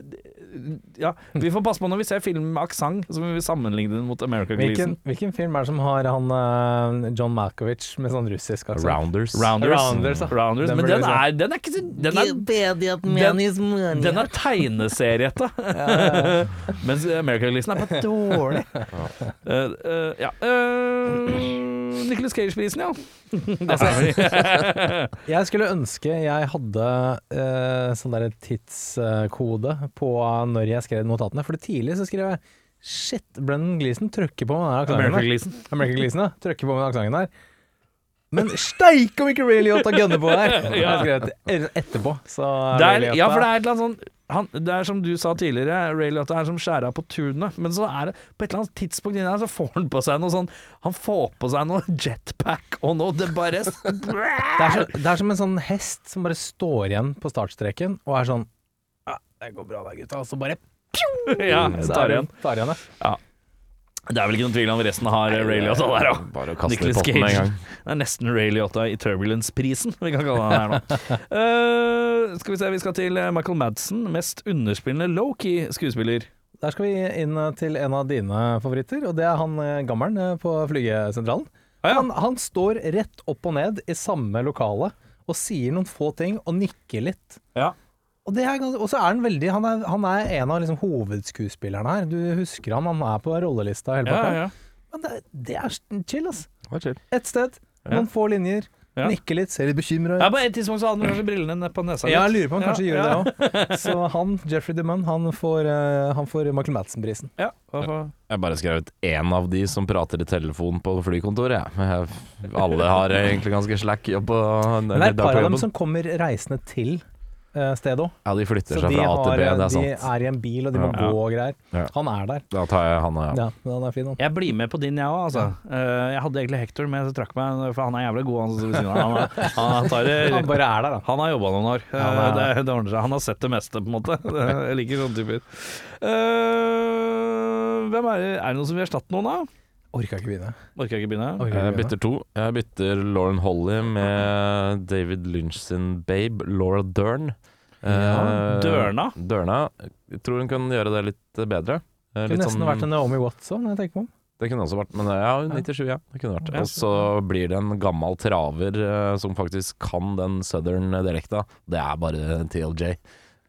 Speaker 1: ja, Vi får passe på når vi ser film med aksent, så må vi sammenligne den mot America
Speaker 4: Hvilken,
Speaker 1: Gleason.
Speaker 4: hvilken film er det som har han eh, John Malkovich med sånn russisk aksent?
Speaker 2: Rounders.
Speaker 1: Rounders.
Speaker 4: Rounders, ja.
Speaker 1: Rounders.
Speaker 4: Den
Speaker 1: Men
Speaker 4: burde
Speaker 1: den
Speaker 4: vi se.
Speaker 1: er, den er ikke så Den er, den, den er tegneseriete. Mens America Gleason er bare dårlig. Eh, eh, ja. eh, Nicolas Cage-prisen, ja. Altså, Det er vi.
Speaker 4: Jeg skulle ønske jeg hadde eh, sånn der tidskode på når jeg skrev notatene. For tidlig så skrev jeg Shit, Brendan Gleeson trykker på med den
Speaker 1: America
Speaker 4: aksenten der.
Speaker 1: Gleason.
Speaker 4: American Gleeson, ja. Trykker på med den aksenten der. Men steike om ikke Ray Liotta gunner på der! Jeg har skrevet det etterpå. Så
Speaker 1: Det
Speaker 4: Ray
Speaker 1: er, ja,
Speaker 4: Liotta-
Speaker 1: for det er et eller annet sånn han, Det er som du sa tidligere, Ray Liotta er som skjæra på tunet. Men så er det på et eller annet tidspunkt inni her, så får han på seg noe sånn Han får på seg noe jetpack og noe Det bare
Speaker 4: Det er, så, det er som en sånn hest som bare står igjen på startstreken og er sånn ja, Det går bra da, gutta. Og så bare
Speaker 1: Ja,
Speaker 2: Mm,
Speaker 4: så
Speaker 1: tar
Speaker 4: er
Speaker 1: igjen.
Speaker 4: hun- Tar igjen, ja.
Speaker 1: Det er vel ikke noen tvil om resten har eh, Ray
Speaker 4: sånn
Speaker 1: Liotta der òg.
Speaker 2: Bare å kaste det i
Speaker 1: Nicolas
Speaker 2: potten med en
Speaker 1: Cage.
Speaker 2: gang.
Speaker 1: Det er nesten Ray Liotta i Turbulence-prisen, vi kan kalle den her nå. Eh, skal vi se, vi skal til eh, Michael Madsen, mest underspillende low-key skuespiller.
Speaker 4: Der skal vi inn eh, til en av dine favoritter, og det er han eh, gammelen eh, på flygesentralen.
Speaker 1: Ah, ja.
Speaker 4: han, han står rett opp og ned i samme lokale og sier noen få ting og nikker litt.
Speaker 1: Ja.
Speaker 4: Og, det er, gans- og så er han veldig Han er, han er en av liksom, hovedskuespillerne her. Du husker han, han er på rollelista hele
Speaker 1: Ja,
Speaker 4: pakka.
Speaker 1: ja.
Speaker 4: Men det, det er chill, ass.
Speaker 2: Vær chill.
Speaker 4: Ett sted, noen få linjer.
Speaker 1: Ja.
Speaker 4: Nikker litt, ser litt bekymra ut.
Speaker 1: ja, På et tidspunkt så hadde han kanskje brillene ned på nesa.
Speaker 4: Ja,
Speaker 1: litt.
Speaker 4: jeg lurer på
Speaker 1: Ja,
Speaker 4: om han kanskje
Speaker 1: ja.
Speaker 4: gjorde det òg. Så han, Jeffrey DeMunn, han får, eh, han får Michael Madsen-prisen.
Speaker 1: Ja, hva for-
Speaker 2: Jeg har bare skrevet én av de som prater i telefon på flykontoret, jeg. jeg. Alle har egentlig ganske slack jobb. Og,
Speaker 4: Men det er et
Speaker 2: dag på
Speaker 4: par av dem
Speaker 2: jobben.
Speaker 4: som kommer reisende til eh, stedet òg.
Speaker 2: Ja, de flytter
Speaker 4: Så
Speaker 2: seg
Speaker 4: de,
Speaker 2: fra A til
Speaker 4: har, eh,
Speaker 2: B, det er
Speaker 4: de
Speaker 2: sant.
Speaker 4: er i en bil, og de må
Speaker 2: Ja.
Speaker 4: gå og greier.
Speaker 2: Ja.
Speaker 4: Han er der.
Speaker 2: Da tar jeg han og jeg.
Speaker 4: Ja, men han er fin, han.
Speaker 1: Jeg blir med på din, jeg òg. Altså. Eh, jeg hadde egentlig Hector, men jeg trakk meg, for han er jævla god, han som ved siden av. Han, er- han, tar
Speaker 4: Han
Speaker 1: det-
Speaker 4: bare er der, da.
Speaker 1: han har jobba noen år. Eh,
Speaker 4: Han er-
Speaker 1: det, det ordner seg. Han har sett det meste, på en måte. Jeg liker sånne typer. Eh, hvem er det Er det noen som vil erstatte noen, da?
Speaker 4: Orka ikke begynne.
Speaker 1: Orker jeg ikke begynne?
Speaker 2: Jeg
Speaker 4: Orker ikke begynne.
Speaker 2: Eh, bytter to. Jeg bytter Lauren Holly med David Lynch sin babe, Laura Dern. Eh,
Speaker 1: Dørna.
Speaker 2: Dørna. Jeg tror hun kan gjøre det litt bedre. Eh,
Speaker 4: Det
Speaker 2: litt
Speaker 4: kunne nesten
Speaker 2: sånn-
Speaker 4: vært en Naomi Watson, jeg tenker på om.
Speaker 2: Det kunne også vært, men eh, ja, 97, ja. Det kunne vært.
Speaker 1: Ja.
Speaker 2: Og så blir det en gammel traver eh, som faktisk kan den southern dialekta. Det er bare TLJ.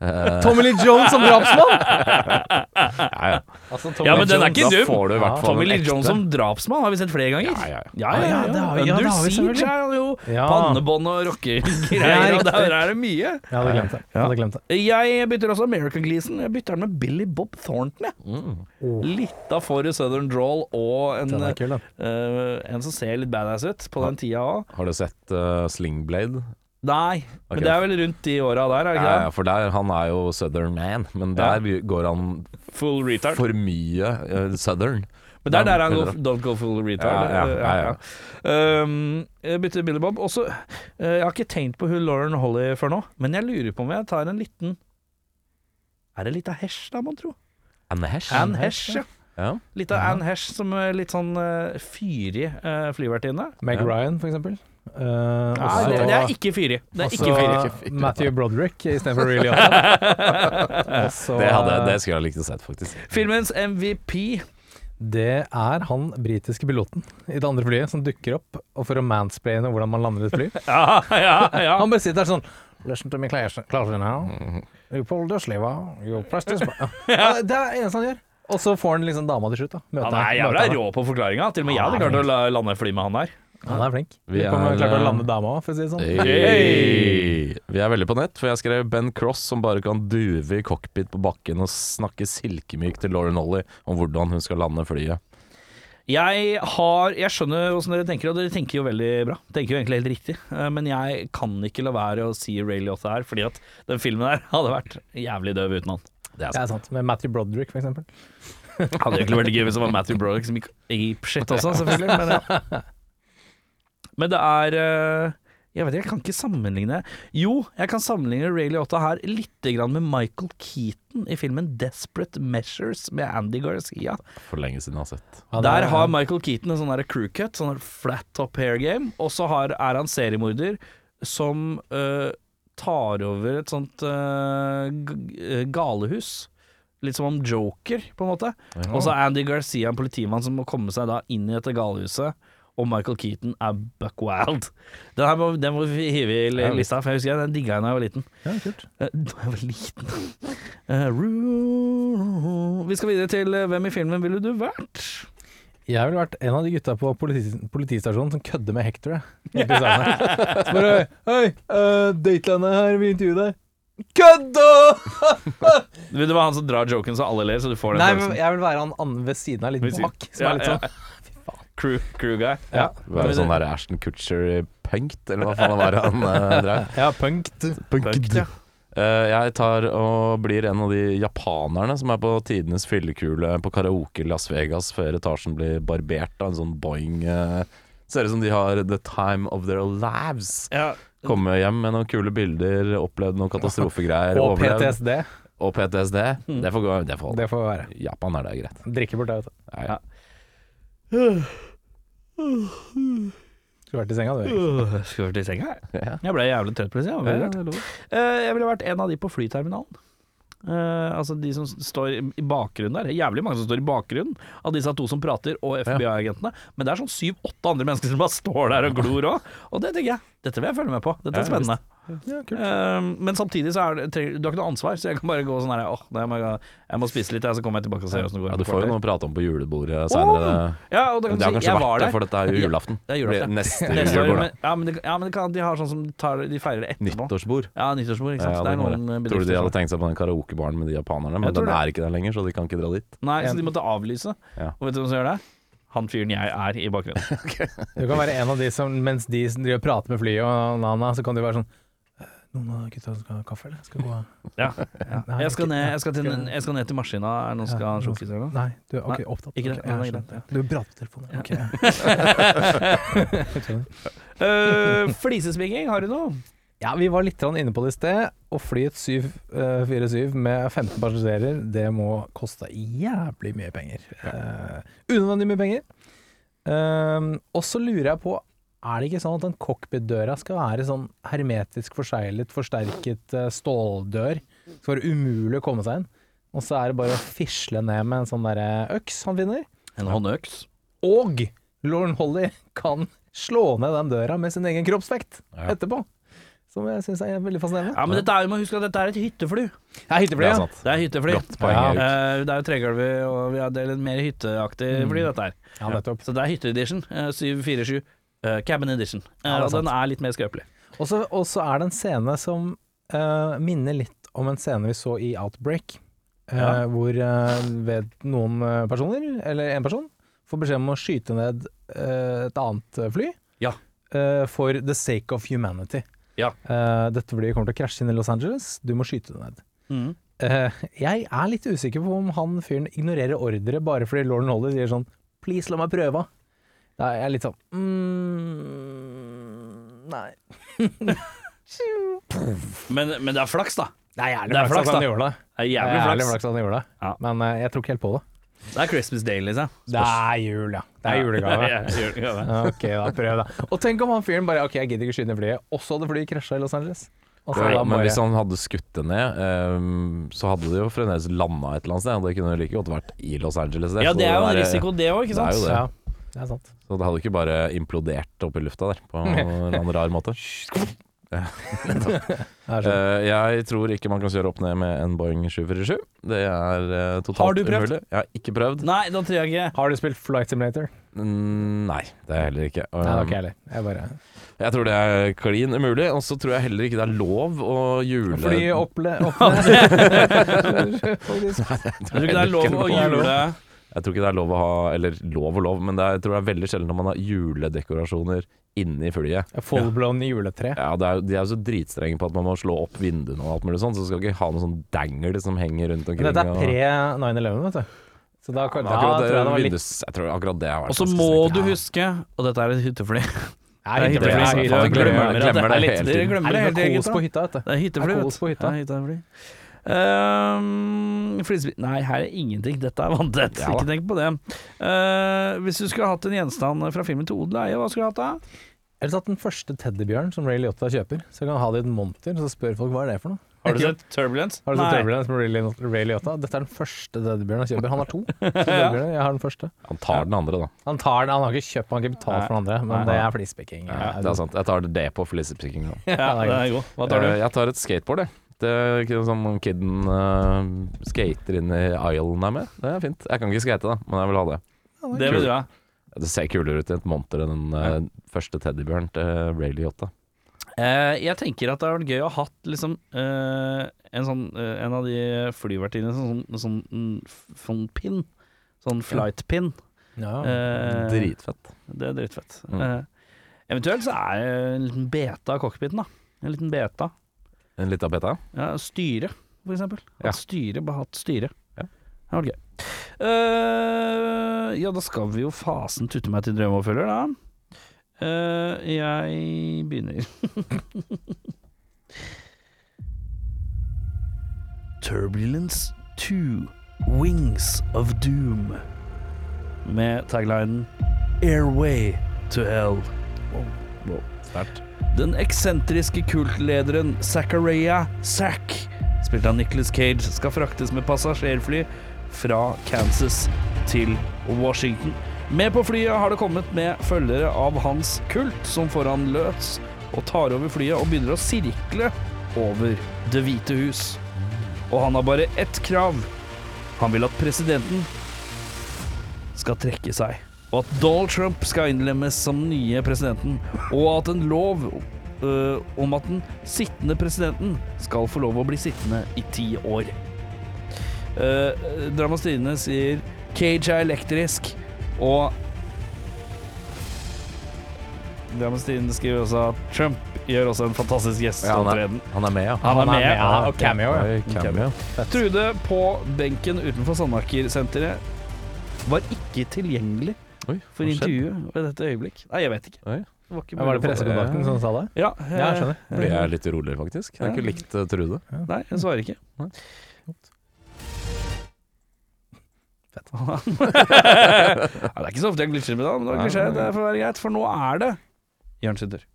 Speaker 2: Eh,
Speaker 4: Tommy Lee Jones som drapsmann!
Speaker 2: ja, ja.
Speaker 4: Altså,
Speaker 1: Ja, men den er ikke
Speaker 2: Da
Speaker 1: dum!
Speaker 2: får du i hvert fall
Speaker 1: Tommy
Speaker 2: en
Speaker 1: Lee
Speaker 2: ekte.
Speaker 1: Jones som drapsmann har vi sett flere ganger.
Speaker 2: Ja, ja, ja.
Speaker 1: Ja, ja,
Speaker 4: Ja, ja, det har vi- ja, det
Speaker 1: Under
Speaker 4: har vi
Speaker 1: Siege
Speaker 4: selvfølgelig.
Speaker 1: er han jo.
Speaker 4: Ja.
Speaker 1: Pannebånd og rockegreier, og der er det mye.
Speaker 4: Jeg hadde glemt det. Jeg hadde glemt det.
Speaker 1: Jeg bytter også American Gleason. Jeg bytter den med Billy Bob Thornton. Jeg.
Speaker 2: Mm.
Speaker 1: Litt av for Southern Drawl og en,
Speaker 4: Den er kul, den.
Speaker 1: eh, en som ser litt badass ut på den tida òg.
Speaker 2: Har du sett eh, Slingblade?
Speaker 1: Nei,
Speaker 2: Ok.
Speaker 1: men det er vel rundt de åra der, er det
Speaker 2: Ja, ja,
Speaker 1: ikke det?
Speaker 2: for der, han er jo southern man, men der går han
Speaker 1: Full retard.
Speaker 2: for mye eh, southern.
Speaker 1: Men det er der han
Speaker 2: Ja,
Speaker 1: går Don't go full retard.
Speaker 2: Ja, ja,
Speaker 1: Eh,
Speaker 2: ja,
Speaker 1: Um, jeg bytter Billy Bob. Også, eh, jeg har ikke tenkt på hun Lauren Holly før nå, men jeg lurer på om jeg tar en liten Er det litt av Hesh, da, mon tro?
Speaker 2: Anne Hesh.
Speaker 1: Anne Hesh, ja.
Speaker 2: Ja.
Speaker 1: Litt av Anne Hesh som eh, litt sånn eh, fyrig eh, flyvertinne.
Speaker 4: Meg Ryan, for eksempel. Eh,
Speaker 1: Nei,
Speaker 4: også-
Speaker 1: det, det er ikke fyrig. Det er
Speaker 4: også
Speaker 1: ikke fyrig.
Speaker 4: Matthew Broderick istedenfor Ray Liotta. Også,
Speaker 2: Det, hadde, det skulle jeg likt å sett, faktisk.
Speaker 1: Filmens MVP
Speaker 4: Det er han britiske piloten i det andre flyet som dukker opp og for å mansplaine hvordan man lander et fly.
Speaker 1: Ja, ja, ja.
Speaker 4: Han bare sitter der sånn Listen to me clash- clashing now. You pulled your sleeve out. You pressed this button." Ja, Det er det eneste han gjør. Og så får han liksom dama til slutt. da Møter
Speaker 1: Han er
Speaker 4: han-
Speaker 1: jævla
Speaker 4: møter han.
Speaker 1: rå på forklaringa. Til og med jeg hadde klart å la- lande fly med han der.
Speaker 4: Han er flink.
Speaker 2: Vi
Speaker 4: Vi kommer
Speaker 2: er-
Speaker 4: klart til å lande dama òg, for å si det sånn.
Speaker 2: Hey. Vi er veldig på nett, for jeg skrev Ben Cross som bare kan duve i cockpit på bakken og snakke silkemykt til Lauren Ollie om hvordan hun skal lande flyet.
Speaker 1: Jeg har Jeg skjønner hvordan dere tenker, og dere tenker jo veldig bra. Tenker jo egentlig helt riktig. Eh, Men jeg kan ikke la være å si Ray Liotta her, fordi at den filmen der hadde vært jævlig døv uten han.
Speaker 2: Det er
Speaker 4: Det er sant. Med Matthew Broderick, for eksempel.
Speaker 1: Hadde jo egentlig vært gøy hvis det var Matthew Broderick som gikk apeshit også, selvfølgelig. Men, ja. men det er eh, Jeg vet ikke, jeg kan ikke sammenligne Jo, jeg kan sammenligne Ray Liotta her litt grann med Michael Keaton i filmen 'Desperate Measures' med Andy Garcia.
Speaker 2: for lenge siden jeg har sett.
Speaker 4: Han er-
Speaker 1: Der har Michael Keaton en sånn der crew cut, sånn der flat top hair game, og så har, er han seriemorder som øh, tar over et sånt øh, g- øh, galehus. Litt som om Joker, på en måte. Og så er Andy Garcia en politimann som må komme seg da inn i dette galehuset. Og Michael Keaton er buck wild. Den, her må, den må vi hive i li-
Speaker 2: Ja,
Speaker 1: lista, for jeg husker jeg, den digga jeg da jeg var liten.
Speaker 4: Ja, kult.
Speaker 1: Eh, Da jeg var liten Eh, ru- Vi skal videre til eh, Hvem i filmen ville du vært?
Speaker 4: Jeg ville vært en av de gutta på politi politistasjonen som kødder med Hector. jeg. Helt i starten her. Så bare Hei, uh, Datelandet her, vi intervjuer deg. Kødda!
Speaker 1: Vil du være han som drar joken så alle ler, så du får den
Speaker 4: Nei, men
Speaker 1: følelsen?
Speaker 4: jeg vil være han andre ved siden av,
Speaker 1: Ved
Speaker 4: liten
Speaker 1: siden.
Speaker 4: bak, som er litt
Speaker 1: Ja,
Speaker 4: sånn
Speaker 1: Crew, crew guy.
Speaker 4: Ja,
Speaker 2: Være sånn der Ashton Kutcher i Punkt, eller hva faen var det han eh, drev?
Speaker 4: ja punkt.
Speaker 2: Punked. Eh, jeg tar og blir en av de japanerne som er på tidenes fyllekule på karaoke i Las Vegas før etasjen blir barbert av en sånn Boeing. eh, ser ut som de har the time of their lives.
Speaker 1: Ja.
Speaker 2: Komme hjem med noen kule bilder, opplevd noen katastrofegreier.
Speaker 4: Og
Speaker 2: overlevd.
Speaker 4: PTSD.
Speaker 2: Og PTSD.
Speaker 1: Mm.
Speaker 2: Det får gå. Det får holde.
Speaker 4: Det får være.
Speaker 2: Japan er det greit.
Speaker 4: Drikke bort det, vet du.
Speaker 2: Nei.
Speaker 1: Ja.
Speaker 4: Skulle vært i senga, du.
Speaker 1: Øh, Skulle vært i senga, jeg.
Speaker 2: Ja.
Speaker 1: Jeg ble jævlig trøtt plutselig. Jeg, var veldig rørt. Eh, jeg ville vært en av de på flyterminalen. Eh, altså de som står i- i bakgrunnen der. Det er Jævlig mange som står i bakgrunnen av disse to som prater, og FBI-agentene. Men det er sånn syv-åtte andre mennesker som bare står der og glor òg. Og det tenker jeg, dette vil jeg følge med på. Dette er
Speaker 2: Ja,
Speaker 1: spennende.
Speaker 4: Ja, kult.
Speaker 1: Eh, men samtidig så er det, trenger, du har ikke noe ansvar, så jeg kan bare gå sånn her Åh, nei, jeg, må- jeg må spise litt, jeg, så kommer jeg tilbake og ser åssen det går.
Speaker 2: Ja,
Speaker 1: om et
Speaker 2: du får jo
Speaker 1: kvarter.»
Speaker 2: noe å prate om på julebordet seinere.
Speaker 1: Ja, og da kan
Speaker 2: Det
Speaker 1: du
Speaker 2: har
Speaker 1: si
Speaker 2: kanskje
Speaker 1: jeg
Speaker 2: vært
Speaker 1: var
Speaker 2: det,
Speaker 1: der.
Speaker 2: for dette er jo julaften.
Speaker 1: det er julaften.
Speaker 2: Blir Neste
Speaker 1: Neste år,
Speaker 2: julebord,
Speaker 1: men, ja, men, det, ja, men det kan, de har sånn som de, tar, de feirer det
Speaker 2: da.
Speaker 1: etterpå.
Speaker 2: Nyttårsbord.
Speaker 1: Ja, nyttårsbord, ikke
Speaker 2: Ja,
Speaker 1: sant.
Speaker 2: ja,
Speaker 1: det
Speaker 2: det
Speaker 1: er
Speaker 2: må
Speaker 1: noen eh,
Speaker 2: Tror du
Speaker 1: bedrifter
Speaker 2: de
Speaker 1: som-
Speaker 2: hadde tenkt seg på den karaokebaren med de japanerne,
Speaker 1: Jeg
Speaker 2: men
Speaker 1: tror det.
Speaker 2: den er ikke der lenger, så de kan ikke dra dit.
Speaker 1: Nei, så de måtte avlyse.
Speaker 2: Ja.
Speaker 1: Og vet du hvem som gjør det? Han fyren jeg er i bakgrunnen.
Speaker 4: Du kan være en av de som, mens de som driver og prater med flyet og nana, så kan du være sånn «Eh, Noen av gutta skal ha kaffe, eller? Skal vi gå
Speaker 1: Ja.
Speaker 4: Nei,
Speaker 1: Jeg skal
Speaker 4: ikke-
Speaker 1: ned, jeg skal til, jeg skal ned til maskina. Er det noen som skal ha en sjokkis eller noe?
Speaker 4: Nei, du er ok,
Speaker 1: Nei,
Speaker 4: opptatt.
Speaker 1: ikke det.
Speaker 4: Ok, jeg
Speaker 1: Nei, det er
Speaker 4: skjønner. Du prater på telefonen. ja. Ok, ja.
Speaker 1: Eh, Flisespigging, har du noe?
Speaker 4: Ja, vi var litt grann inne på det i sted. Å fly et 747 med 15 passasjerer, det må koste jævlig mye penger. Eh, unødvendig mye penger. Ehm, og så lurer jeg på, er det ikke sånn at den cockpit-døra skal være sånn hermetisk forseglet, forsterket eh, ståldør? Det skal være umulig å komme seg inn. Og så er det bare å fisle ned med en sånn derre øks han finner.
Speaker 1: En håndøks.
Speaker 4: Og Lauren Holly kan slå ned den døra med sin egen kroppsvekt
Speaker 2: Ja.
Speaker 4: etterpå. Som jeg syns er veldig fascinerende.
Speaker 1: Ja, men dette er, jo- må huske at dette er et hyttefly.
Speaker 4: Det er
Speaker 2: Det er
Speaker 4: hyttefly, ja.
Speaker 2: sant.
Speaker 1: Det er hyttefly.
Speaker 2: Godt poeng,
Speaker 1: Ja.
Speaker 2: Erik.
Speaker 1: Eh, det er jo tregulvet, og vi har det er litt mer hytteaktig fly, dette her.
Speaker 4: ja nettopp.
Speaker 1: Så det er hytteedition. Uh, 747 eh, cabin edition. Eh,
Speaker 4: Ja, det er
Speaker 1: og den
Speaker 4: sant.
Speaker 1: er litt mer skrøpelig.
Speaker 4: Og så og så er det en scene som eh, minner litt om en scene vi så i Outbreak. eh,
Speaker 1: Ja.
Speaker 4: Hvor eh, ved noen eh, personer, eller en person, får beskjed om å skyte ned eh, et annet eh, fly.
Speaker 1: Ja.
Speaker 4: eh, for the sake of humanity.
Speaker 1: Ja.
Speaker 4: Eh, dette flyet kommer til å krasje inn i Los Angeles, du må skyte det ned. Eh, jeg er litt usikker på om han fyren ignorerer ordre bare fordi Lauren Holly sier sånn Please, la meg prøve. Da er jeg litt sånn mm, Nei.
Speaker 1: Men, men det er flaks, da.
Speaker 4: Det er jævlig
Speaker 1: Det er flaks,
Speaker 4: flaks at han
Speaker 1: da.
Speaker 4: gjorde det.
Speaker 1: Det er
Speaker 4: Det er
Speaker 1: jævlig
Speaker 4: jævlig
Speaker 1: flaks.
Speaker 4: flaks at han gjorde det.
Speaker 1: Ja.
Speaker 4: Men eh, jeg tror ikke helt på det.
Speaker 1: Det er Christmas Day, liksom.
Speaker 4: Det er jul, ja. Det er julegave.
Speaker 1: Ja, julegave.
Speaker 4: Ok, da prøv, da. Og tenk om han fyren bare Ok, jeg gidder ikke skyte ned flyet, og så hadde flyet krasja i Los Angeles. Og så
Speaker 2: Ja,
Speaker 4: da
Speaker 2: men
Speaker 4: bare-
Speaker 2: hvis han hadde skutt det ned, ehm, så hadde det jo fremdeles landa et eller annet sted. Det kunne like godt vært i Los Angeles.
Speaker 1: Ja,
Speaker 2: så
Speaker 1: det er jo en
Speaker 2: der-
Speaker 1: risiko, det òg, ikke
Speaker 2: Det er
Speaker 1: sant?
Speaker 2: jo det.
Speaker 4: Ja, det er sant.
Speaker 2: Så det hadde ikke bare implodert opp i lufta der, på en eller annen rar måte.
Speaker 4: Det er sånn.
Speaker 2: Eh, jeg tror ikke man kan kjøre opp ned med en Boeing 747. Det er eh, totalt
Speaker 1: Har du prøvd?
Speaker 2: umulig. Jeg har ikke prøvd.
Speaker 1: Nei, da tror jeg ikke
Speaker 4: Har du spilt Flight Simulator?
Speaker 2: Mm, Nei, det er jeg heller ikke.
Speaker 4: Nei, det har
Speaker 2: Um,
Speaker 4: ikke jeg heller. Jeg bare
Speaker 2: Jeg tror det er klin umulig, og så tror jeg heller ikke det er lov å jule
Speaker 4: Fly opple... opple- Faktisk.
Speaker 1: Jeg tror ikke det er lov å
Speaker 2: Det er lov.
Speaker 1: jule
Speaker 2: Jeg tror ikke det er lov å ha Eller lov og lov, men det er, jeg tror det er veldig sjelden når man har juledekorasjoner inni flyet.
Speaker 4: Fullblown juletre.
Speaker 2: Ja, det er, jo- De er jo så dritstrenge på at man må slå opp vinduene og alt mulig sånn, så du skal ikke ha noe sånn dangle som henger rundt omkring.
Speaker 4: Men dette er
Speaker 2: og-
Speaker 4: pre 9-11, vet du. Så da,
Speaker 2: Men
Speaker 4: da
Speaker 2: akkurat
Speaker 4: tror jeg det var
Speaker 2: det,
Speaker 4: litt
Speaker 2: vindus, jeg tror akkurat det har vært
Speaker 1: Og så
Speaker 2: ganske
Speaker 1: må
Speaker 2: strengt.
Speaker 1: du huske, og dette er et hyttefly Det er
Speaker 4: Nei, hyttefly,
Speaker 1: hyttefly. Faen,
Speaker 4: hyttefly, hyttefly.
Speaker 1: glemmer det.
Speaker 2: Glemmer
Speaker 1: er
Speaker 2: det
Speaker 1: litt-
Speaker 2: hele
Speaker 1: dere
Speaker 2: tiden.
Speaker 1: glemmer
Speaker 4: Er
Speaker 1: det hele
Speaker 4: det
Speaker 1: tiden,
Speaker 4: kos
Speaker 1: gutta.
Speaker 4: på hytta, vet du?
Speaker 1: Det er hyttefly.
Speaker 4: Er det
Speaker 1: vet
Speaker 4: kos
Speaker 1: du.
Speaker 4: på hytta?
Speaker 1: Det er hyttefly. Ehm, fliseby- Nei, her er ingenting. Dette er vanntett.
Speaker 2: Ja da.
Speaker 1: Ikke tenk på det. Eh, hvis du skulle hatt en gjenstand fra filmen til odel og eie, hva skulle du hatt da?
Speaker 4: Eller tatt den første teddybjørnen som Ray Liotta kjøper, så kan han ha det i et monter, så spør folk hva er det for noe.
Speaker 1: Har du sett Turbulence?
Speaker 4: Har du
Speaker 1: Nei.
Speaker 4: sett Turbulence med Ray Li- Ray Liotta? Dette er den første teddybjørnen han kjøper. Han har to. teddybjørner, Jeg har den første.
Speaker 2: Han tar den andre, da.
Speaker 4: Han tar den, han har ikke kjøpt, han har ikke betalt for den andre,
Speaker 1: Nei.
Speaker 4: men det er flispekking.
Speaker 2: Ja, det er sant. Jeg tar det på flisepikking. da.
Speaker 1: Ja, det er god. Hva tar
Speaker 2: Eh,
Speaker 1: du?
Speaker 2: Jeg tar et skateboard, jeg. Det er ikke sånn om kiden eh, skater inn i islen her med. Det er fint. Jeg kan ikke skate, da, men jeg vil ha det.
Speaker 1: Det vil du ha.
Speaker 2: Det ser kulere ut i et monter enn den eh, første teddybjørn til Ray Liotta.
Speaker 1: Eh, jeg tenker at det hadde vært gøy å ha hatt liksom, eh, en, sånn, eh, en av de flyvertinnene sånn, sånn, sånn, sånn pin. Sånn flight pin.
Speaker 4: Ja.
Speaker 1: Eh,
Speaker 2: Dritfett.
Speaker 1: Det er drittfett.
Speaker 2: Mm.
Speaker 1: Eh, eventuelt så er det en liten beta av cockpiten, da. En liten beta.
Speaker 2: En lita beta.
Speaker 1: Ja, styre, for eksempel.
Speaker 2: Ja.
Speaker 1: At styre, bare hatt styre.
Speaker 2: Ja.
Speaker 1: Det var gøy. Eh, ja, da skal vi jo fasen tutte meg til drømmeoppfølger, da. Eh, jeg begynner. Turbulence 2 Wings of Doom. Med taglinen Airway to Hell.
Speaker 2: Sterkt.
Speaker 1: Den eksentriske kultlederen Zachariah Zack, spilt av Nicolas Cage, skal fraktes med passasjerfly fra Kansas til Washington. Med på flyet har det kommet med følgere av hans kult, som får han løs og tar over flyet og begynner å sirkle over Det hvite hus. Og han har bare ett krav. Han vil at presidenten skal trekke seg. Og at Donald Trump skal innlemmes som den nye presidenten. Og at en lov øh, om at den sittende presidenten skal få lov å bli sittende i ti år. Uh, Dramastine sier Cage er elektrisk, og Dramastine skriver også at Trump gjør også en fantastisk
Speaker 2: Ja, han,
Speaker 1: gjesteopptreden.
Speaker 2: er, han er med, ja.
Speaker 1: Han er med,
Speaker 4: ja, og cameo, ja.
Speaker 2: Oi, cameo.
Speaker 1: Trude på benken utenfor Sandaker-senteret var ikke tilgjengelig
Speaker 2: Oi,
Speaker 1: for
Speaker 2: hva skjedde?
Speaker 1: intervjuet ved dette øyeblikk. Nei, jeg vet ikke.
Speaker 2: Oi.
Speaker 1: Det var, ikke
Speaker 4: Var det
Speaker 1: mulig å få-
Speaker 4: pressekontakten som sa det?
Speaker 1: Ja, eh,
Speaker 4: Ja, jeg skjønner.
Speaker 2: Blir jeg litt urolig, faktisk. Jeg har ikke likt eh, Trude.
Speaker 1: Nei, jeg svarer ikke.
Speaker 2: Nei.
Speaker 1: Fett. ja, det er ikke så ofte jeg glitcher med det, men det var klisjé. Det får være greit, for nå er det Jørn sin tur.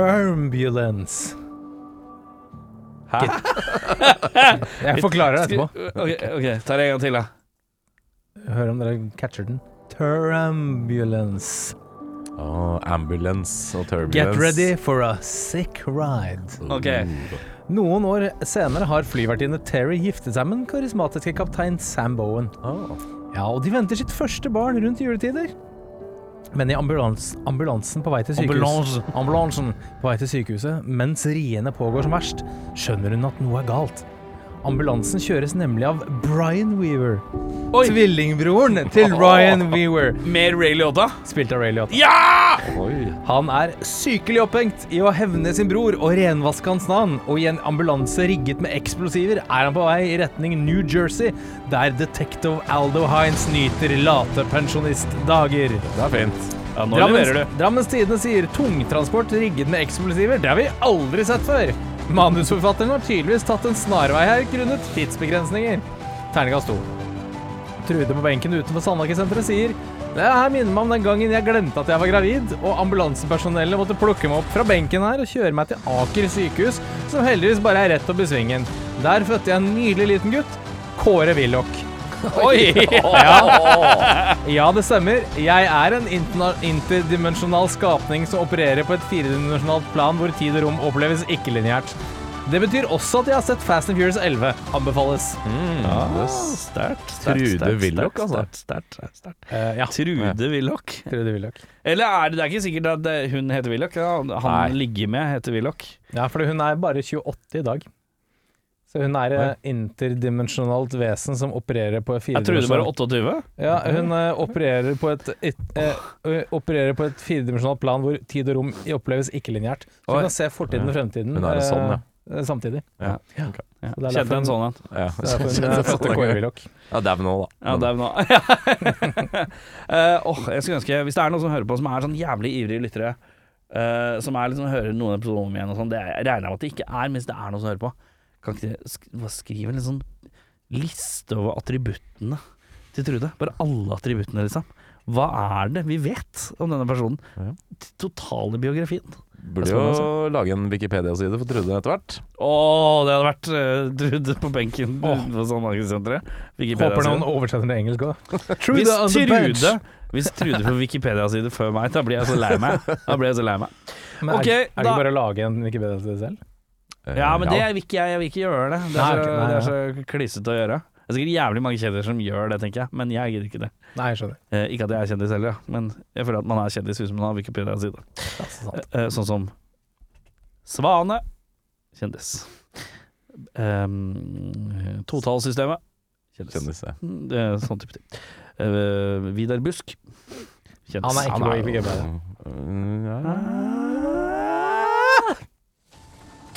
Speaker 4: Turbulence.
Speaker 1: Hæ?
Speaker 4: Jeg forklarer det etterpå.
Speaker 1: Ok, ok, tar jeg en gang til, da.
Speaker 4: Hør om dere catcher den. Turbulence.
Speaker 2: Oh, ambulance og turbulence.
Speaker 4: Get ready for a sick ride.
Speaker 1: Ok.
Speaker 4: Noen år senere har flyvertinne Terry giftet seg med den karismatiske kaptein Sam Bowen.
Speaker 2: Oh.
Speaker 4: Ja, og de venter sitt første barn rundt juletider. Men i ambulans, ambulansen på vei til sykehus,
Speaker 1: Ambulanse.
Speaker 4: ambulansen på vei til sykehuset, mens riene pågår som verst, skjønner hun at noe er galt. Ambulansen kjøres nemlig av Brian Weaver. Tvillingbroren til Ryan Weaver,
Speaker 1: Mer Ray Liotta?
Speaker 4: spilt av Ray Liotta.
Speaker 1: Ja!
Speaker 2: Oi.
Speaker 4: Han er sykelig opphengt i å hevne sin bror og renvaske hans navn, og i en ambulanse rigget med eksplosiver er han på vei i retning New Jersey, der detektiv Aldo Hines nyter late pensjonistdager.
Speaker 2: Det er fint.
Speaker 1: Ja, nå
Speaker 4: Drammens,
Speaker 1: leverer du.
Speaker 4: Drammens Tidende sier tungtransport rigget med eksplosiver, det har vi aldri sett før. Manusforfatteren har tydeligvis tatt en snarvei her grunnet tidsbegrensninger. Terningkast to. Trude på benken utenfor Sandaker-senteret sier det her minner meg om den gangen jeg glemte at jeg var gravid, og ambulansepersonellet måtte plukke meg opp fra benken her og kjøre meg til Aker sykehus, som heldigvis bare er rett opp i svingen. Der fødte jeg en nydelig liten gutt, Kåre Willoch. Oi! Ja. ja, det stemmer. Jeg er en interna- interdimensjonal skapning som opererer på et firedimensjonalt plan hvor tid og rom oppleves ikke-lineært. Det betyr også at jeg har sett Fast and Furious 11. Anbefales.
Speaker 1: Ah, Sterkt. sterkt,
Speaker 2: Trude
Speaker 1: sterkt,
Speaker 2: Willoch,
Speaker 1: sterkt,
Speaker 2: altså.
Speaker 1: sterkt, sterkt, sterkt.
Speaker 4: Eh, ja.
Speaker 1: Trude Willoch.
Speaker 4: Trude Willoch.
Speaker 1: Eller er det, det er ikke sikkert at det- hun heter Willoch. ja. Han
Speaker 2: Nei.
Speaker 1: ligger med heter Willoch.
Speaker 4: Ja, for hun er bare 28 i dag. Så hun er et interdimensjonalt vesen som opererer på
Speaker 1: Jeg trodde det var
Speaker 4: firedimensjonalt
Speaker 1: 28.
Speaker 4: Ja, hun eh, opererer på et, et eh, ø- opererer på et firedimensjonalt plan hvor tid og rom i- oppleves ikke-linjært. Så
Speaker 1: Oi.
Speaker 4: hun kan se fortiden og fremtiden
Speaker 2: Hun er en sånn,
Speaker 4: eh, samtidig.
Speaker 2: Ja.
Speaker 1: Ja.
Speaker 4: Så det er derfor
Speaker 1: Kjente en
Speaker 4: hun-
Speaker 1: sånn en.
Speaker 2: Ja,
Speaker 4: Så det er derfor hun eh, satte Kåre Willoch.
Speaker 2: ja dæven nå, da.
Speaker 1: Ja, det er nå. Eh, åh, jeg skulle ønske Hvis det er noen som hører på som er sånn jævlig ivrige lyttere, eh, som er liksom hører noen episoder om igjen og sånn, det er- jeg regner med at det ikke er, mens det er noen som hører på, kan ikke dere sk bare skrive en litt sånn liste over attributtene til Trude? Bare alle attributtene, liksom. Hva er det vi vet om denne personen?
Speaker 2: Ja.
Speaker 1: T- Totale biografien.
Speaker 2: Burde jo lage en Wikipedia-side for Trude etter hvert.
Speaker 1: Å, det hadde vært eh, Trude på benken på sånn hagesenteret.
Speaker 4: Håper noen oversetter det engelsk òg.
Speaker 1: Hvis Trude, hvis Trude får Wikipedia-side før meg, da blir jeg så lei meg. Da blir jeg så lei meg.
Speaker 4: Men er,
Speaker 1: Ok,
Speaker 4: er det
Speaker 1: da-
Speaker 4: ikke bare å lage en Wikipedia til det selv?
Speaker 2: Eh,
Speaker 1: Ja, men det vil ikke jeg. Jeg vil ikke gjøre det. Det
Speaker 4: Nei,
Speaker 1: er
Speaker 4: ok,
Speaker 1: så,
Speaker 4: nei,
Speaker 1: det er så klissete å gjøre. Det er sikkert jævlig mange kjendiser som gjør det, tenker jeg, men jeg gidder ikke det.
Speaker 4: Nei, jeg skjønner.
Speaker 1: Eh, ikke at jeg er kjendis heller, ja. men jeg føler at man er kjendis hvis man har Wikipedia-side.
Speaker 4: Det er så sant.
Speaker 1: Eh, sånn som Svane kjendis. Um, Totallsystemet kjendis.
Speaker 2: Kjendis, ja.
Speaker 1: Mm, Det er sånn type ting. Eh, Vidar Busk kjendis.
Speaker 4: Han er ikke på Wikipedia.
Speaker 2: Mm, ja, ja.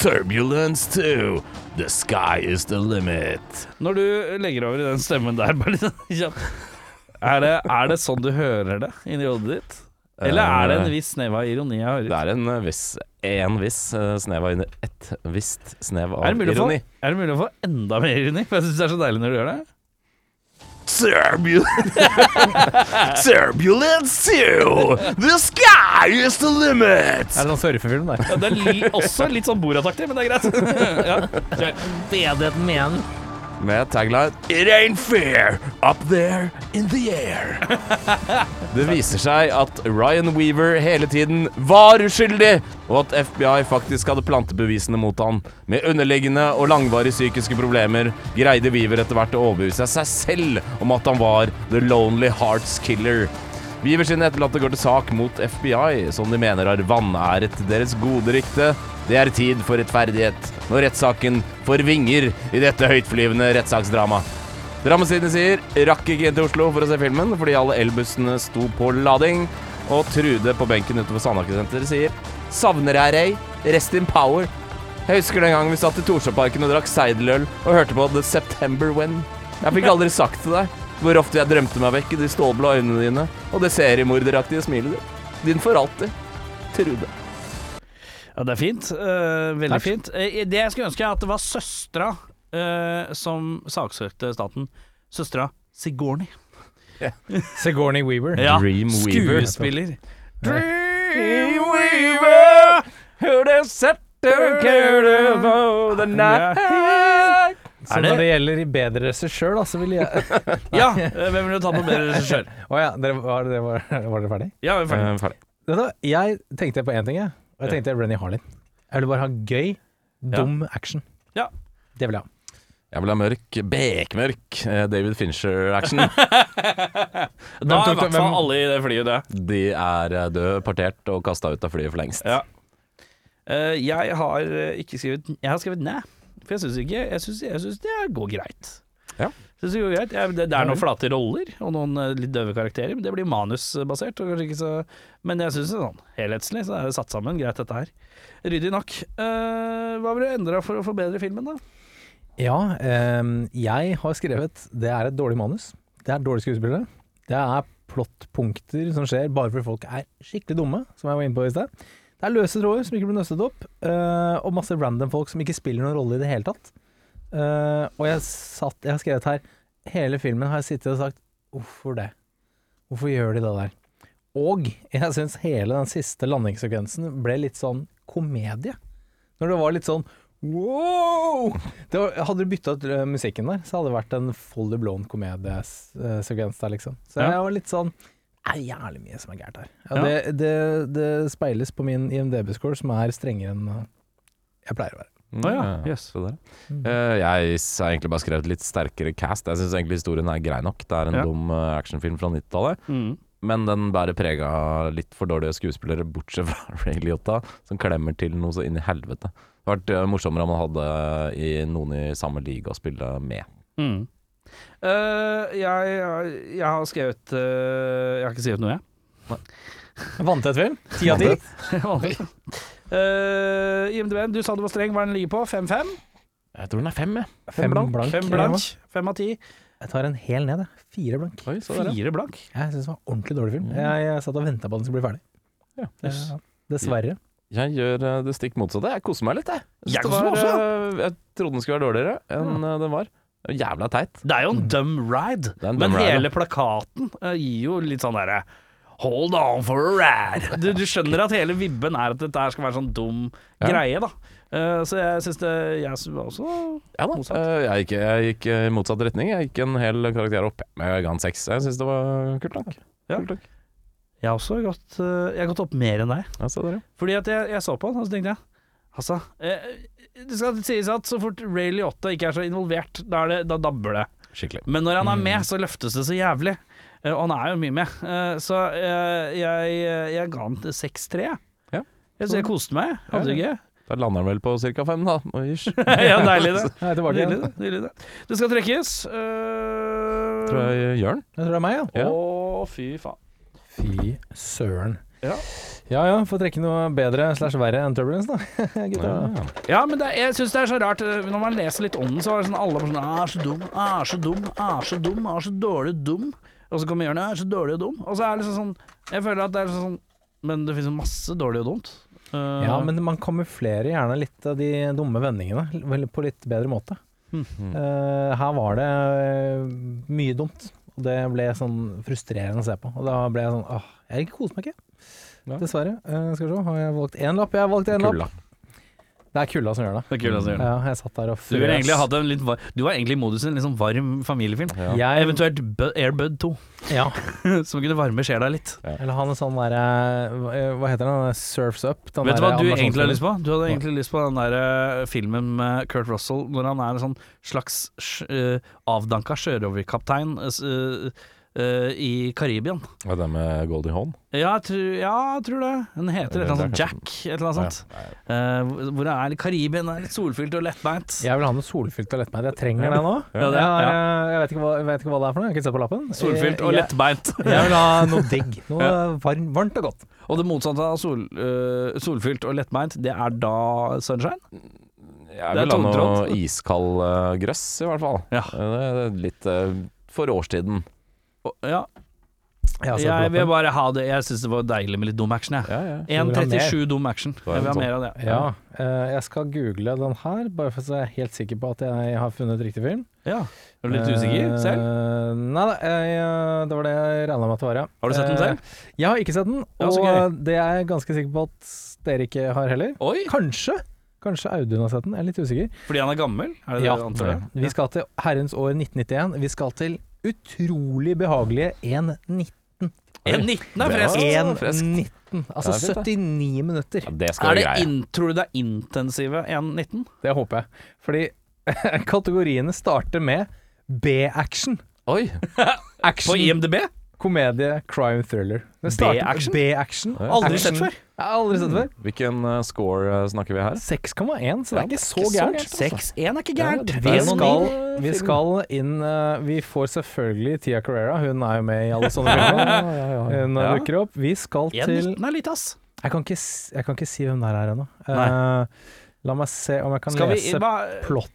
Speaker 5: Turbulence 2. The sky is the limit.
Speaker 1: Når du legger over i den stemmen der, bare litt sånn kjapt er det, er det sånn du hører det inni hodet ditt? Eller er det en viss snev av ironi jeg hører?
Speaker 2: Eh. Det er en eh, viss En viss eh, snev av ironi. Et visst snev av
Speaker 1: Er det, mulig å få,
Speaker 2: ironi.
Speaker 1: er det mulig å få enda mer ironi? For jeg syns det er så deilig når du gjør det.
Speaker 5: Turbulence. Turbulence 2. The sky is the limit.
Speaker 4: Er det sånn surfefilm der?
Speaker 1: Ja, det er li også litt sånn Borat-aktig, men det er greit. Ja, kjør.
Speaker 4: Bedheten igjen.
Speaker 2: Med tagline
Speaker 5: It ain't fair up there in the air.
Speaker 2: Det viser seg at Ryan Weaver hele tiden var uskyldig, og at FBI faktisk hadde plantebevisene mot han. Med underliggende og langvarige psykiske problemer greide Weaver etter hvert å overbevise seg selv om at han var The Lonely Hearts Killer. Weaver sine etterlatte går til sak mot FBI, som de mener har vanæret deres gode rykte. Det er tid for rettferdighet, når rettssaken får vinger i dette høytflyvende rettssaksdramaet. Drammesiden sier rakk ikke inn til Oslo for å se filmen fordi alle elbussene sto på lading. Og Trude på benken utenfor Sandaker-senteret sier savner jeg Ray, rest in power. Jeg husker den gangen vi satt i Torsjåparken og drakk Seideløl og hørte på The September When. Jeg fikk aldri sagt til deg hvor ofte jeg drømte meg vekk i de stålblå øynene dine og det seriemorderaktige smilet ditt. Din for alltid. Trude.
Speaker 1: Ja, det er fint. Eh, veldig
Speaker 4: Takk.
Speaker 1: fint. Eh, det jeg skulle ønske, er at det var søstera eh, som saksøkte staten. Søstera Sigourney.
Speaker 4: Sigourney Weaver.
Speaker 1: Ja,
Speaker 2: Dreamweaver.
Speaker 1: Skuespiller.
Speaker 2: Dreamweaver, who the setter care of the night.
Speaker 4: Så
Speaker 1: Er det-
Speaker 4: når det gjelder i bedre regissør, da, så vil jeg Å
Speaker 1: Ja, eh, hvem vil du ta på bedre regissør?
Speaker 4: ja, dere, var, dere, var, var dere ferdig?
Speaker 1: Ja, vi er
Speaker 2: Eh,
Speaker 1: ferdig.
Speaker 4: Vet du, jeg tenkte på én ting, jeg. Og jeg tenkte Renny Harlin. Jeg ville bare ha gøy, dum action.
Speaker 1: Ja.
Speaker 4: Det vil jeg ha.
Speaker 2: Jeg vil ha mørk, bekmørk eh, David Fincher-action.
Speaker 1: Da
Speaker 4: Hvem
Speaker 1: er i
Speaker 4: tok det-
Speaker 1: hvert fall
Speaker 4: hvem-
Speaker 1: alle i det flyet døde.
Speaker 2: De er eh, døde, partert og kasta ut av flyet for lengst.
Speaker 1: Ja. Eh, jeg har eh, ikke skrevet Jeg har skrevet nei. For jeg syns ikke Jeg synes- jeg synes det går greit.
Speaker 2: Ja.
Speaker 1: Synes det, går greit. Jeg, det, det er noen flate roller og noen eh, litt døve karakterer, men det blir manusbasert. Og kanskje ikke så, men jeg syns sånn helhetslig så er det satt sammen greit, dette her. Ryddig nok. Eh, hva ville du endra for å forbedre filmen, da?
Speaker 4: Ja, ehm, jeg har skrevet Det er et dårlig manus. Det er dårlige skuespillere. Det er plottpunkter som skjer bare fordi folk er skikkelig dumme, som jeg var inne på i sted. Det er løse tråder som ikke blir nøstet opp, eh, og masse random folk som ikke spiller noen rolle i det hele tatt. Eh, og jeg, satt, jeg har skrevet her Hele filmen har jeg sittet og sagt Hvorfor det? Hvorfor gjør de det der? Og jeg syns hele den siste landingssekvensen ble litt sånn komedie. Når det var litt sånn wow! Det var, hadde du bytta ut eh, musikken der, så hadde det vært en fully blown komediesekvens der, liksom. Så
Speaker 1: Ja.
Speaker 4: jeg var litt sånn Det er jævlig mye som er gærent her. Ja,
Speaker 1: Ja.
Speaker 4: Det, det, det speiles på min IMDb-score, som er strengere enn eh, jeg pleier å være.
Speaker 2: Mm,
Speaker 1: Å ja, jøss.
Speaker 2: så der. Eh, jeg s- har egentlig bare skrevet litt sterkere cast. Jeg syns egentlig historien er grei nok. Det er en
Speaker 1: Ja. Mm.
Speaker 2: dum eh, actionfilm fra 90-tallet. Men den bærer preg av litt for dårlige skuespillere, bortsett fra Ray Liotta, som klemmer til noe så inn i helvete. Det hadde vært eh, morsommere om han hadde eh, i noen i samme liga å spille med.
Speaker 1: Mm. Eh, jeg, jeg, jeg har skrevet eh, Jeg har ikke skrevet noe, jeg.
Speaker 4: Vanntett film. Ti av ti.
Speaker 1: Eh, IMDb, du sa du var streng. Hva er den ligger på? 5-5?
Speaker 2: Jeg tror den er fem, jeg.
Speaker 4: Fem blank.
Speaker 1: Fem blank? Fem av ti?
Speaker 4: Jeg tar en hel ned, jeg. Fire blank.
Speaker 2: Oi, så der, ja.
Speaker 1: Fire blank?
Speaker 4: Jeg syns det var en ordentlig dårlig film. Jeg, jeg satt og venta på at den skulle bli ferdig.
Speaker 2: Ja.
Speaker 4: Det, dessverre.
Speaker 2: Jeg gjør eh, det stikk motsatte. Jeg koser meg litt, jeg. synes
Speaker 1: Jeg
Speaker 2: det
Speaker 1: koser meg
Speaker 2: var,
Speaker 1: også,
Speaker 2: eh, jeg trodde den skulle være dårligere enn eh, den var. Det er Jævla teit.
Speaker 1: Det er jo en dumb ride,
Speaker 2: Det er en
Speaker 1: men
Speaker 2: dumb ride,
Speaker 1: hele plakaten eh, gir jo litt sånn derre Hold on for a ride. Du, du skjønner at hele vibben er at dette her skal være sånn dum
Speaker 2: Ja.
Speaker 1: greie, da. Eh, så jeg syns det Jeg synes også
Speaker 2: Ja da.
Speaker 1: Motsatt.
Speaker 2: Eh, Jeg gikk, jeg gikk eh, i motsatt retning. Jeg gikk en hel karakter opp. Men jeg ga han seks. Jeg syns det var kult nok.
Speaker 1: Ja.
Speaker 2: Kult nok.
Speaker 1: Jeg har også gått, eh, jeg har gått opp mer enn deg.
Speaker 2: Ja, se der, ja.
Speaker 1: Fordi at jeg, jeg så på den, og så tenkte jeg Altså, eh, det skal sies at så fort Ray Liotta ikke er så involvert, da, er det, da dabber det.
Speaker 2: Skikkelig.
Speaker 1: Men når han er med, så løftes det så jævlig. Eh, Og han er jo mye med. Eh, Så eh, jeg, jeg ga han til 6-3. jeg.
Speaker 2: Ja.
Speaker 1: Jeg, så jeg koste meg. Hadde det gøy.
Speaker 2: Da lander han vel på ca. fem, da. Oi, hysj.
Speaker 1: ja, deilig det.
Speaker 4: Jeg er tilbake
Speaker 1: Nydelig
Speaker 4: igjen.
Speaker 1: det. Nydelig det. Det skal trekkes. eh,
Speaker 2: Tror jeg gjør den.
Speaker 4: Jeg tror det er meg, ja.
Speaker 2: Ja.
Speaker 1: Å, fy faen.
Speaker 4: Fy søren.
Speaker 1: Ja.
Speaker 4: ja ja, får trekke noe bedre slash verre enn Turbulence, da. Gutta.
Speaker 2: Ja.
Speaker 1: Ja, men det, jeg syns det er så rart eh, Når man leser litt om den, så er det sånn alle bare sånn «Ah, 'Er så dum, er så dum, ah, er så dum, er så dårlig dum'. Og så kommer Jørn «Ah, 'Er så dårlig og dum'. Og så er det liksom sånn Jeg føler at det er sånn Men det finnes jo masse dårlig og dumt. Eh,
Speaker 4: Ja, men man kamuflerer gjerne litt av de dumme vendingene vel, på litt bedre måte.
Speaker 1: Mhm.
Speaker 4: Eh, her var det eh, mye dumt, og det ble sånn frustrerende å se på. Og da ble jeg sånn åh, jeg koser meg ikke.
Speaker 2: Ja.
Speaker 4: Dessverre. Eh, skal vi se, har jeg valgt én lapp? Jeg har valgt én lapp.
Speaker 2: Kulla.
Speaker 4: Det er kulda som gjør det.
Speaker 1: Det er kult, altså,
Speaker 2: Mm.
Speaker 1: Jørn.
Speaker 4: Ja, jeg satt der og
Speaker 1: Du, ville egentlig hatt en litt var, du var egentlig i modus i en litt sånn varm familiefilm.
Speaker 2: Ja.
Speaker 4: Jeg,
Speaker 1: Eventuelt Bu- Air Bud 2,
Speaker 4: ja,
Speaker 1: som kunne varme sjela litt.
Speaker 4: eller han en sånn derre Hva heter den? Surfs Up?
Speaker 2: Sånn
Speaker 4: Den
Speaker 1: Vet du hva
Speaker 4: der
Speaker 1: du egentlig har
Speaker 4: animasjonsfilmen.
Speaker 1: lyst på? Du hadde egentlig lyst på den der eh, filmen med Kurt Russell når han er en sånn slags sj- eh, avdanka sjørøverkaptein eh, s- eh, eh, i Karibien.
Speaker 2: Og det med Goldie Hawn.
Speaker 1: Ja, jeg tror, ja, jeg tror det. Den heter et eller annet sånt
Speaker 2: Det er
Speaker 1: Jack, et eller annet sånt. Eh, hvor- hvor det er litt Karibien, det er litt solfylt og lettbeint.
Speaker 4: Jeg vil ha noe solfylt og lettbeint. Jeg trenger det nå.
Speaker 1: Ja, det-
Speaker 4: jeg, har,
Speaker 1: ja.
Speaker 4: eh, jeg, vet ikke hva, jeg vet ikke hva det er for noe. Jeg har ikke sett på lappen.
Speaker 1: Solfylt
Speaker 2: Eh,
Speaker 1: og
Speaker 4: Jeg-
Speaker 1: lettbeint.
Speaker 4: Jeg, jeg vil ha noe digg. Noe varm, varmt og godt.
Speaker 1: Og det motsatte av sol, eh, solfylt og lettbeint, det er da sunshine? Det
Speaker 2: Jeg
Speaker 1: er
Speaker 2: vil ha noe
Speaker 1: tungtrådd.
Speaker 2: iskald eh, grøss, i hvert fall.
Speaker 1: Ja.
Speaker 2: Eh, Det det er litt eh, for årstiden.
Speaker 1: Og- Ja,
Speaker 4: Jeg har sett på
Speaker 1: jeg vil
Speaker 4: lappen.
Speaker 1: bare ha det. Jeg syns det var deilig med litt dum action, jeg.
Speaker 2: Ja, ja.
Speaker 1: 1.37 dum action. Jeg vil ha mer av det.
Speaker 4: Ja, eh, jeg skal google den her, bare for å være helt sikker på at jeg har funnet riktig film.
Speaker 1: Ja. Er du litt usikker
Speaker 4: Eh,
Speaker 1: selv?
Speaker 4: Nei da, jeg- eh, det var det jeg regna med at det var, ja.
Speaker 1: Har du sett den
Speaker 4: Eh,
Speaker 1: selv?
Speaker 4: Jeg har ikke sett den,
Speaker 1: Ja, så
Speaker 4: og
Speaker 1: gøy.
Speaker 4: det er jeg ganske sikker på at dere ikke har heller.
Speaker 1: Oi,
Speaker 4: Kanskje. Kanskje Audun har sett den, jeg er litt usikker.
Speaker 1: fordi han er gammel? Er det det
Speaker 4: Ja.
Speaker 1: du antar det?
Speaker 4: Vi skal til herrens år 1991. Vi skal til utrolig behagelige 1.19.
Speaker 1: 1.19 er
Speaker 2: Det
Speaker 1: freskt!
Speaker 2: var- Ja,
Speaker 4: 1.19. Altså
Speaker 2: Det er fint,
Speaker 4: 79 minutter.
Speaker 2: Ja, det
Speaker 1: Er
Speaker 2: skal du
Speaker 1: det
Speaker 2: greie.
Speaker 1: in, tror du det er intensive 1.19?
Speaker 4: Det håper jeg. Fordi kategoriene starter med B-action.
Speaker 2: Oi!
Speaker 1: På
Speaker 4: Action,
Speaker 1: IMDb?
Speaker 4: komedie, crime, thriller. Det starter med
Speaker 1: B-action?
Speaker 4: B-action.
Speaker 2: Ja.
Speaker 1: Aldri sett
Speaker 4: Action.
Speaker 1: før.
Speaker 4: Jeg har aldri sett det før.
Speaker 2: Hvilken eh, score eh, snakker vi her?
Speaker 4: 6,1, så det er ikke så
Speaker 2: ikke så
Speaker 4: gærent.
Speaker 2: gærent, altså.
Speaker 1: 6-1 er ikke
Speaker 2: gærent.
Speaker 1: gærent.
Speaker 4: Vi
Speaker 2: Det er noen
Speaker 4: skal,
Speaker 2: nye
Speaker 4: vi
Speaker 2: film.
Speaker 4: skal inn eh, Vi får selvfølgelig Tia Carrera, hun er jo med i alle sånne filmer. Hun
Speaker 2: Ja.
Speaker 4: dukker opp. Vi skal til
Speaker 1: 1.19 er lite, ass.
Speaker 4: Jeg kan ikke, s- jeg kan ikke si hvem det er ennå.
Speaker 1: Nei.
Speaker 4: Eh, la meg se om jeg kan
Speaker 1: Skal vi
Speaker 4: lese
Speaker 1: hva,
Speaker 4: plottet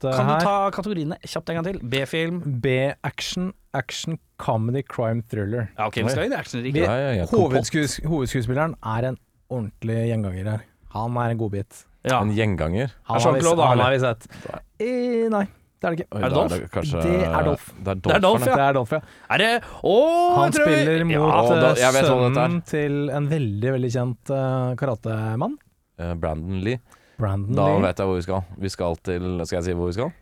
Speaker 1: Kan du
Speaker 4: her.
Speaker 1: ta kategoriene kjapt en gang til? B-film.
Speaker 4: B-action, action, comedy, crime, thriller.
Speaker 1: Ja, ok, vi skal inn i actionriket.
Speaker 2: Ja, ja, ja. Kompott.
Speaker 4: Hovedskues, hovedskuespilleren er en ordentlig gjenganger her. Han er en godbit.
Speaker 1: Ja.
Speaker 2: En gjenganger.
Speaker 4: Han,
Speaker 1: Er
Speaker 4: har vi-
Speaker 1: Jean-Claude, da,
Speaker 4: han
Speaker 1: eller?
Speaker 4: har vi sett. Eh, nei, det er det ikke.
Speaker 2: Oi,
Speaker 1: det
Speaker 2: da
Speaker 1: Dolph?
Speaker 2: kanskje-
Speaker 4: Det er Dolph.
Speaker 2: Det er Dolph,
Speaker 1: Det er Dolph,
Speaker 2: ja.
Speaker 4: Det er Dolph, ja.
Speaker 1: Er det Å,
Speaker 4: Han
Speaker 1: jeg tror vi-
Speaker 4: spiller mot
Speaker 2: Ja, da-
Speaker 4: eh,
Speaker 2: jeg vet hva dette er.
Speaker 4: sønnen til en veldig, veldig kjent eh, karatemann.
Speaker 2: Eh, Brandon Lee.
Speaker 4: Brandon
Speaker 2: Da
Speaker 4: Lee.
Speaker 2: vet jeg hvor vi skal. Vi skal til Skal jeg si hvor vi skal?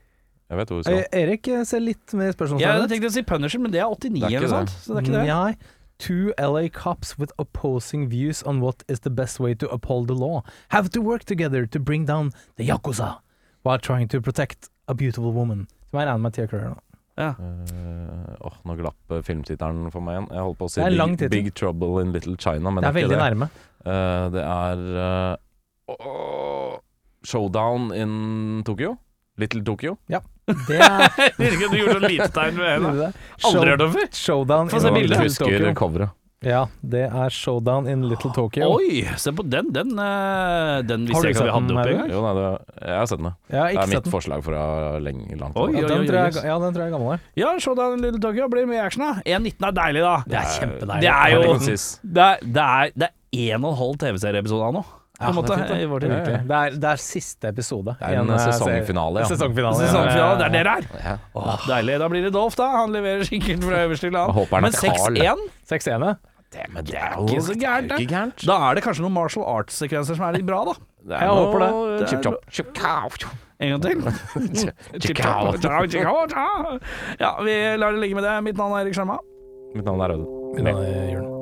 Speaker 2: Jeg vet hvor vi skal.
Speaker 4: Eh, Erik eh, ser litt mer
Speaker 1: Jeg
Speaker 4: spørsmålstegn
Speaker 1: hadde tenkt å si Punisher, men det er 89
Speaker 2: Det er ikke
Speaker 1: eller noe sånt.
Speaker 2: det.
Speaker 1: Så det er ikke det.
Speaker 4: Nei. Two LA cops with opposing views on what is the best way to uphold the law have to work together to bring down the Yakuza while trying to protect a beautiful woman. Som jeg regner med Tia Carrera nå.
Speaker 1: Ja.
Speaker 2: Eh, åh, nå glapp eh, filmtittelen for meg igjen. Jeg holdt på å si
Speaker 4: Det er en lang
Speaker 2: Big,
Speaker 4: tittel.
Speaker 2: Big Trouble in Little China, men
Speaker 4: Det er
Speaker 2: det er
Speaker 4: veldig
Speaker 2: ikke det.
Speaker 4: nærme.
Speaker 2: Eh, det er eh, åh, Showdown in Tokyo. Little Tokyo.
Speaker 4: Det er
Speaker 1: Virker du gjorde så lite tegn med hendene. Aldri
Speaker 4: Show-
Speaker 1: hørt om før.
Speaker 4: Showdown
Speaker 1: Få se
Speaker 4: in
Speaker 2: Jeg
Speaker 1: bildet.
Speaker 4: Little
Speaker 2: husker
Speaker 4: Tokyo.
Speaker 2: coveret.
Speaker 4: Ja, det er Showdown in Little Tokyo.
Speaker 1: Oi, se på den. Den, eh, den
Speaker 4: Har du
Speaker 1: visste jeg ikke
Speaker 4: sett
Speaker 1: at vi hadde
Speaker 4: den,
Speaker 1: oppe
Speaker 4: Mauro?
Speaker 1: engang.
Speaker 2: Jo, nei, det, jeg har sett den.
Speaker 4: Jeg har
Speaker 2: Det
Speaker 4: ikke
Speaker 2: er
Speaker 4: sett
Speaker 2: mitt
Speaker 4: den.
Speaker 2: forslag fra lenge, langt
Speaker 1: Oi,
Speaker 2: tilbake.
Speaker 4: Ja, den tror jeg ja, den tror jeg er gammel. jeg.
Speaker 1: Ja, se da, Little Tokyo blir mye action, da. 1.19 er deilig, da. Det er
Speaker 4: kjempedeilig.
Speaker 1: Det er
Speaker 2: Veldig
Speaker 1: jo
Speaker 2: konsis.
Speaker 1: Det er, det er, det er en og en halv TV-serieepisode av nå. På en måte, i vår tid.
Speaker 4: Det er, det er, det er siste episode.
Speaker 2: Det er en
Speaker 4: I eh,
Speaker 2: sesongfinale, ja.
Speaker 4: serie- Sesongfinale, ja.
Speaker 1: Sesongfinale, det er det det er.
Speaker 2: Ja.
Speaker 1: Åh, deilig. Da blir det Dolph, da. Han leverer sikkert fra øverste hylle.
Speaker 2: Jeg håper
Speaker 1: han.
Speaker 2: han er
Speaker 1: Men
Speaker 2: Carl.
Speaker 1: 6-1,
Speaker 4: Seks ene.
Speaker 2: Det, men
Speaker 1: det er ikke så gærent,
Speaker 2: det. er jo ikke gærent.
Speaker 1: da er det kanskje noen martial arts-sekvenser som er litt bra, da.
Speaker 2: Det
Speaker 4: Jeg håper det.
Speaker 1: Det er
Speaker 2: Chip-chop.
Speaker 1: En gang til. Chip-chop. Chip-chop. Chip-chop. Ja, vi lar det ligge med det. Mitt navn er Erik Sjarma.
Speaker 2: Mitt navn er Røde.
Speaker 4: Nei, gjør den.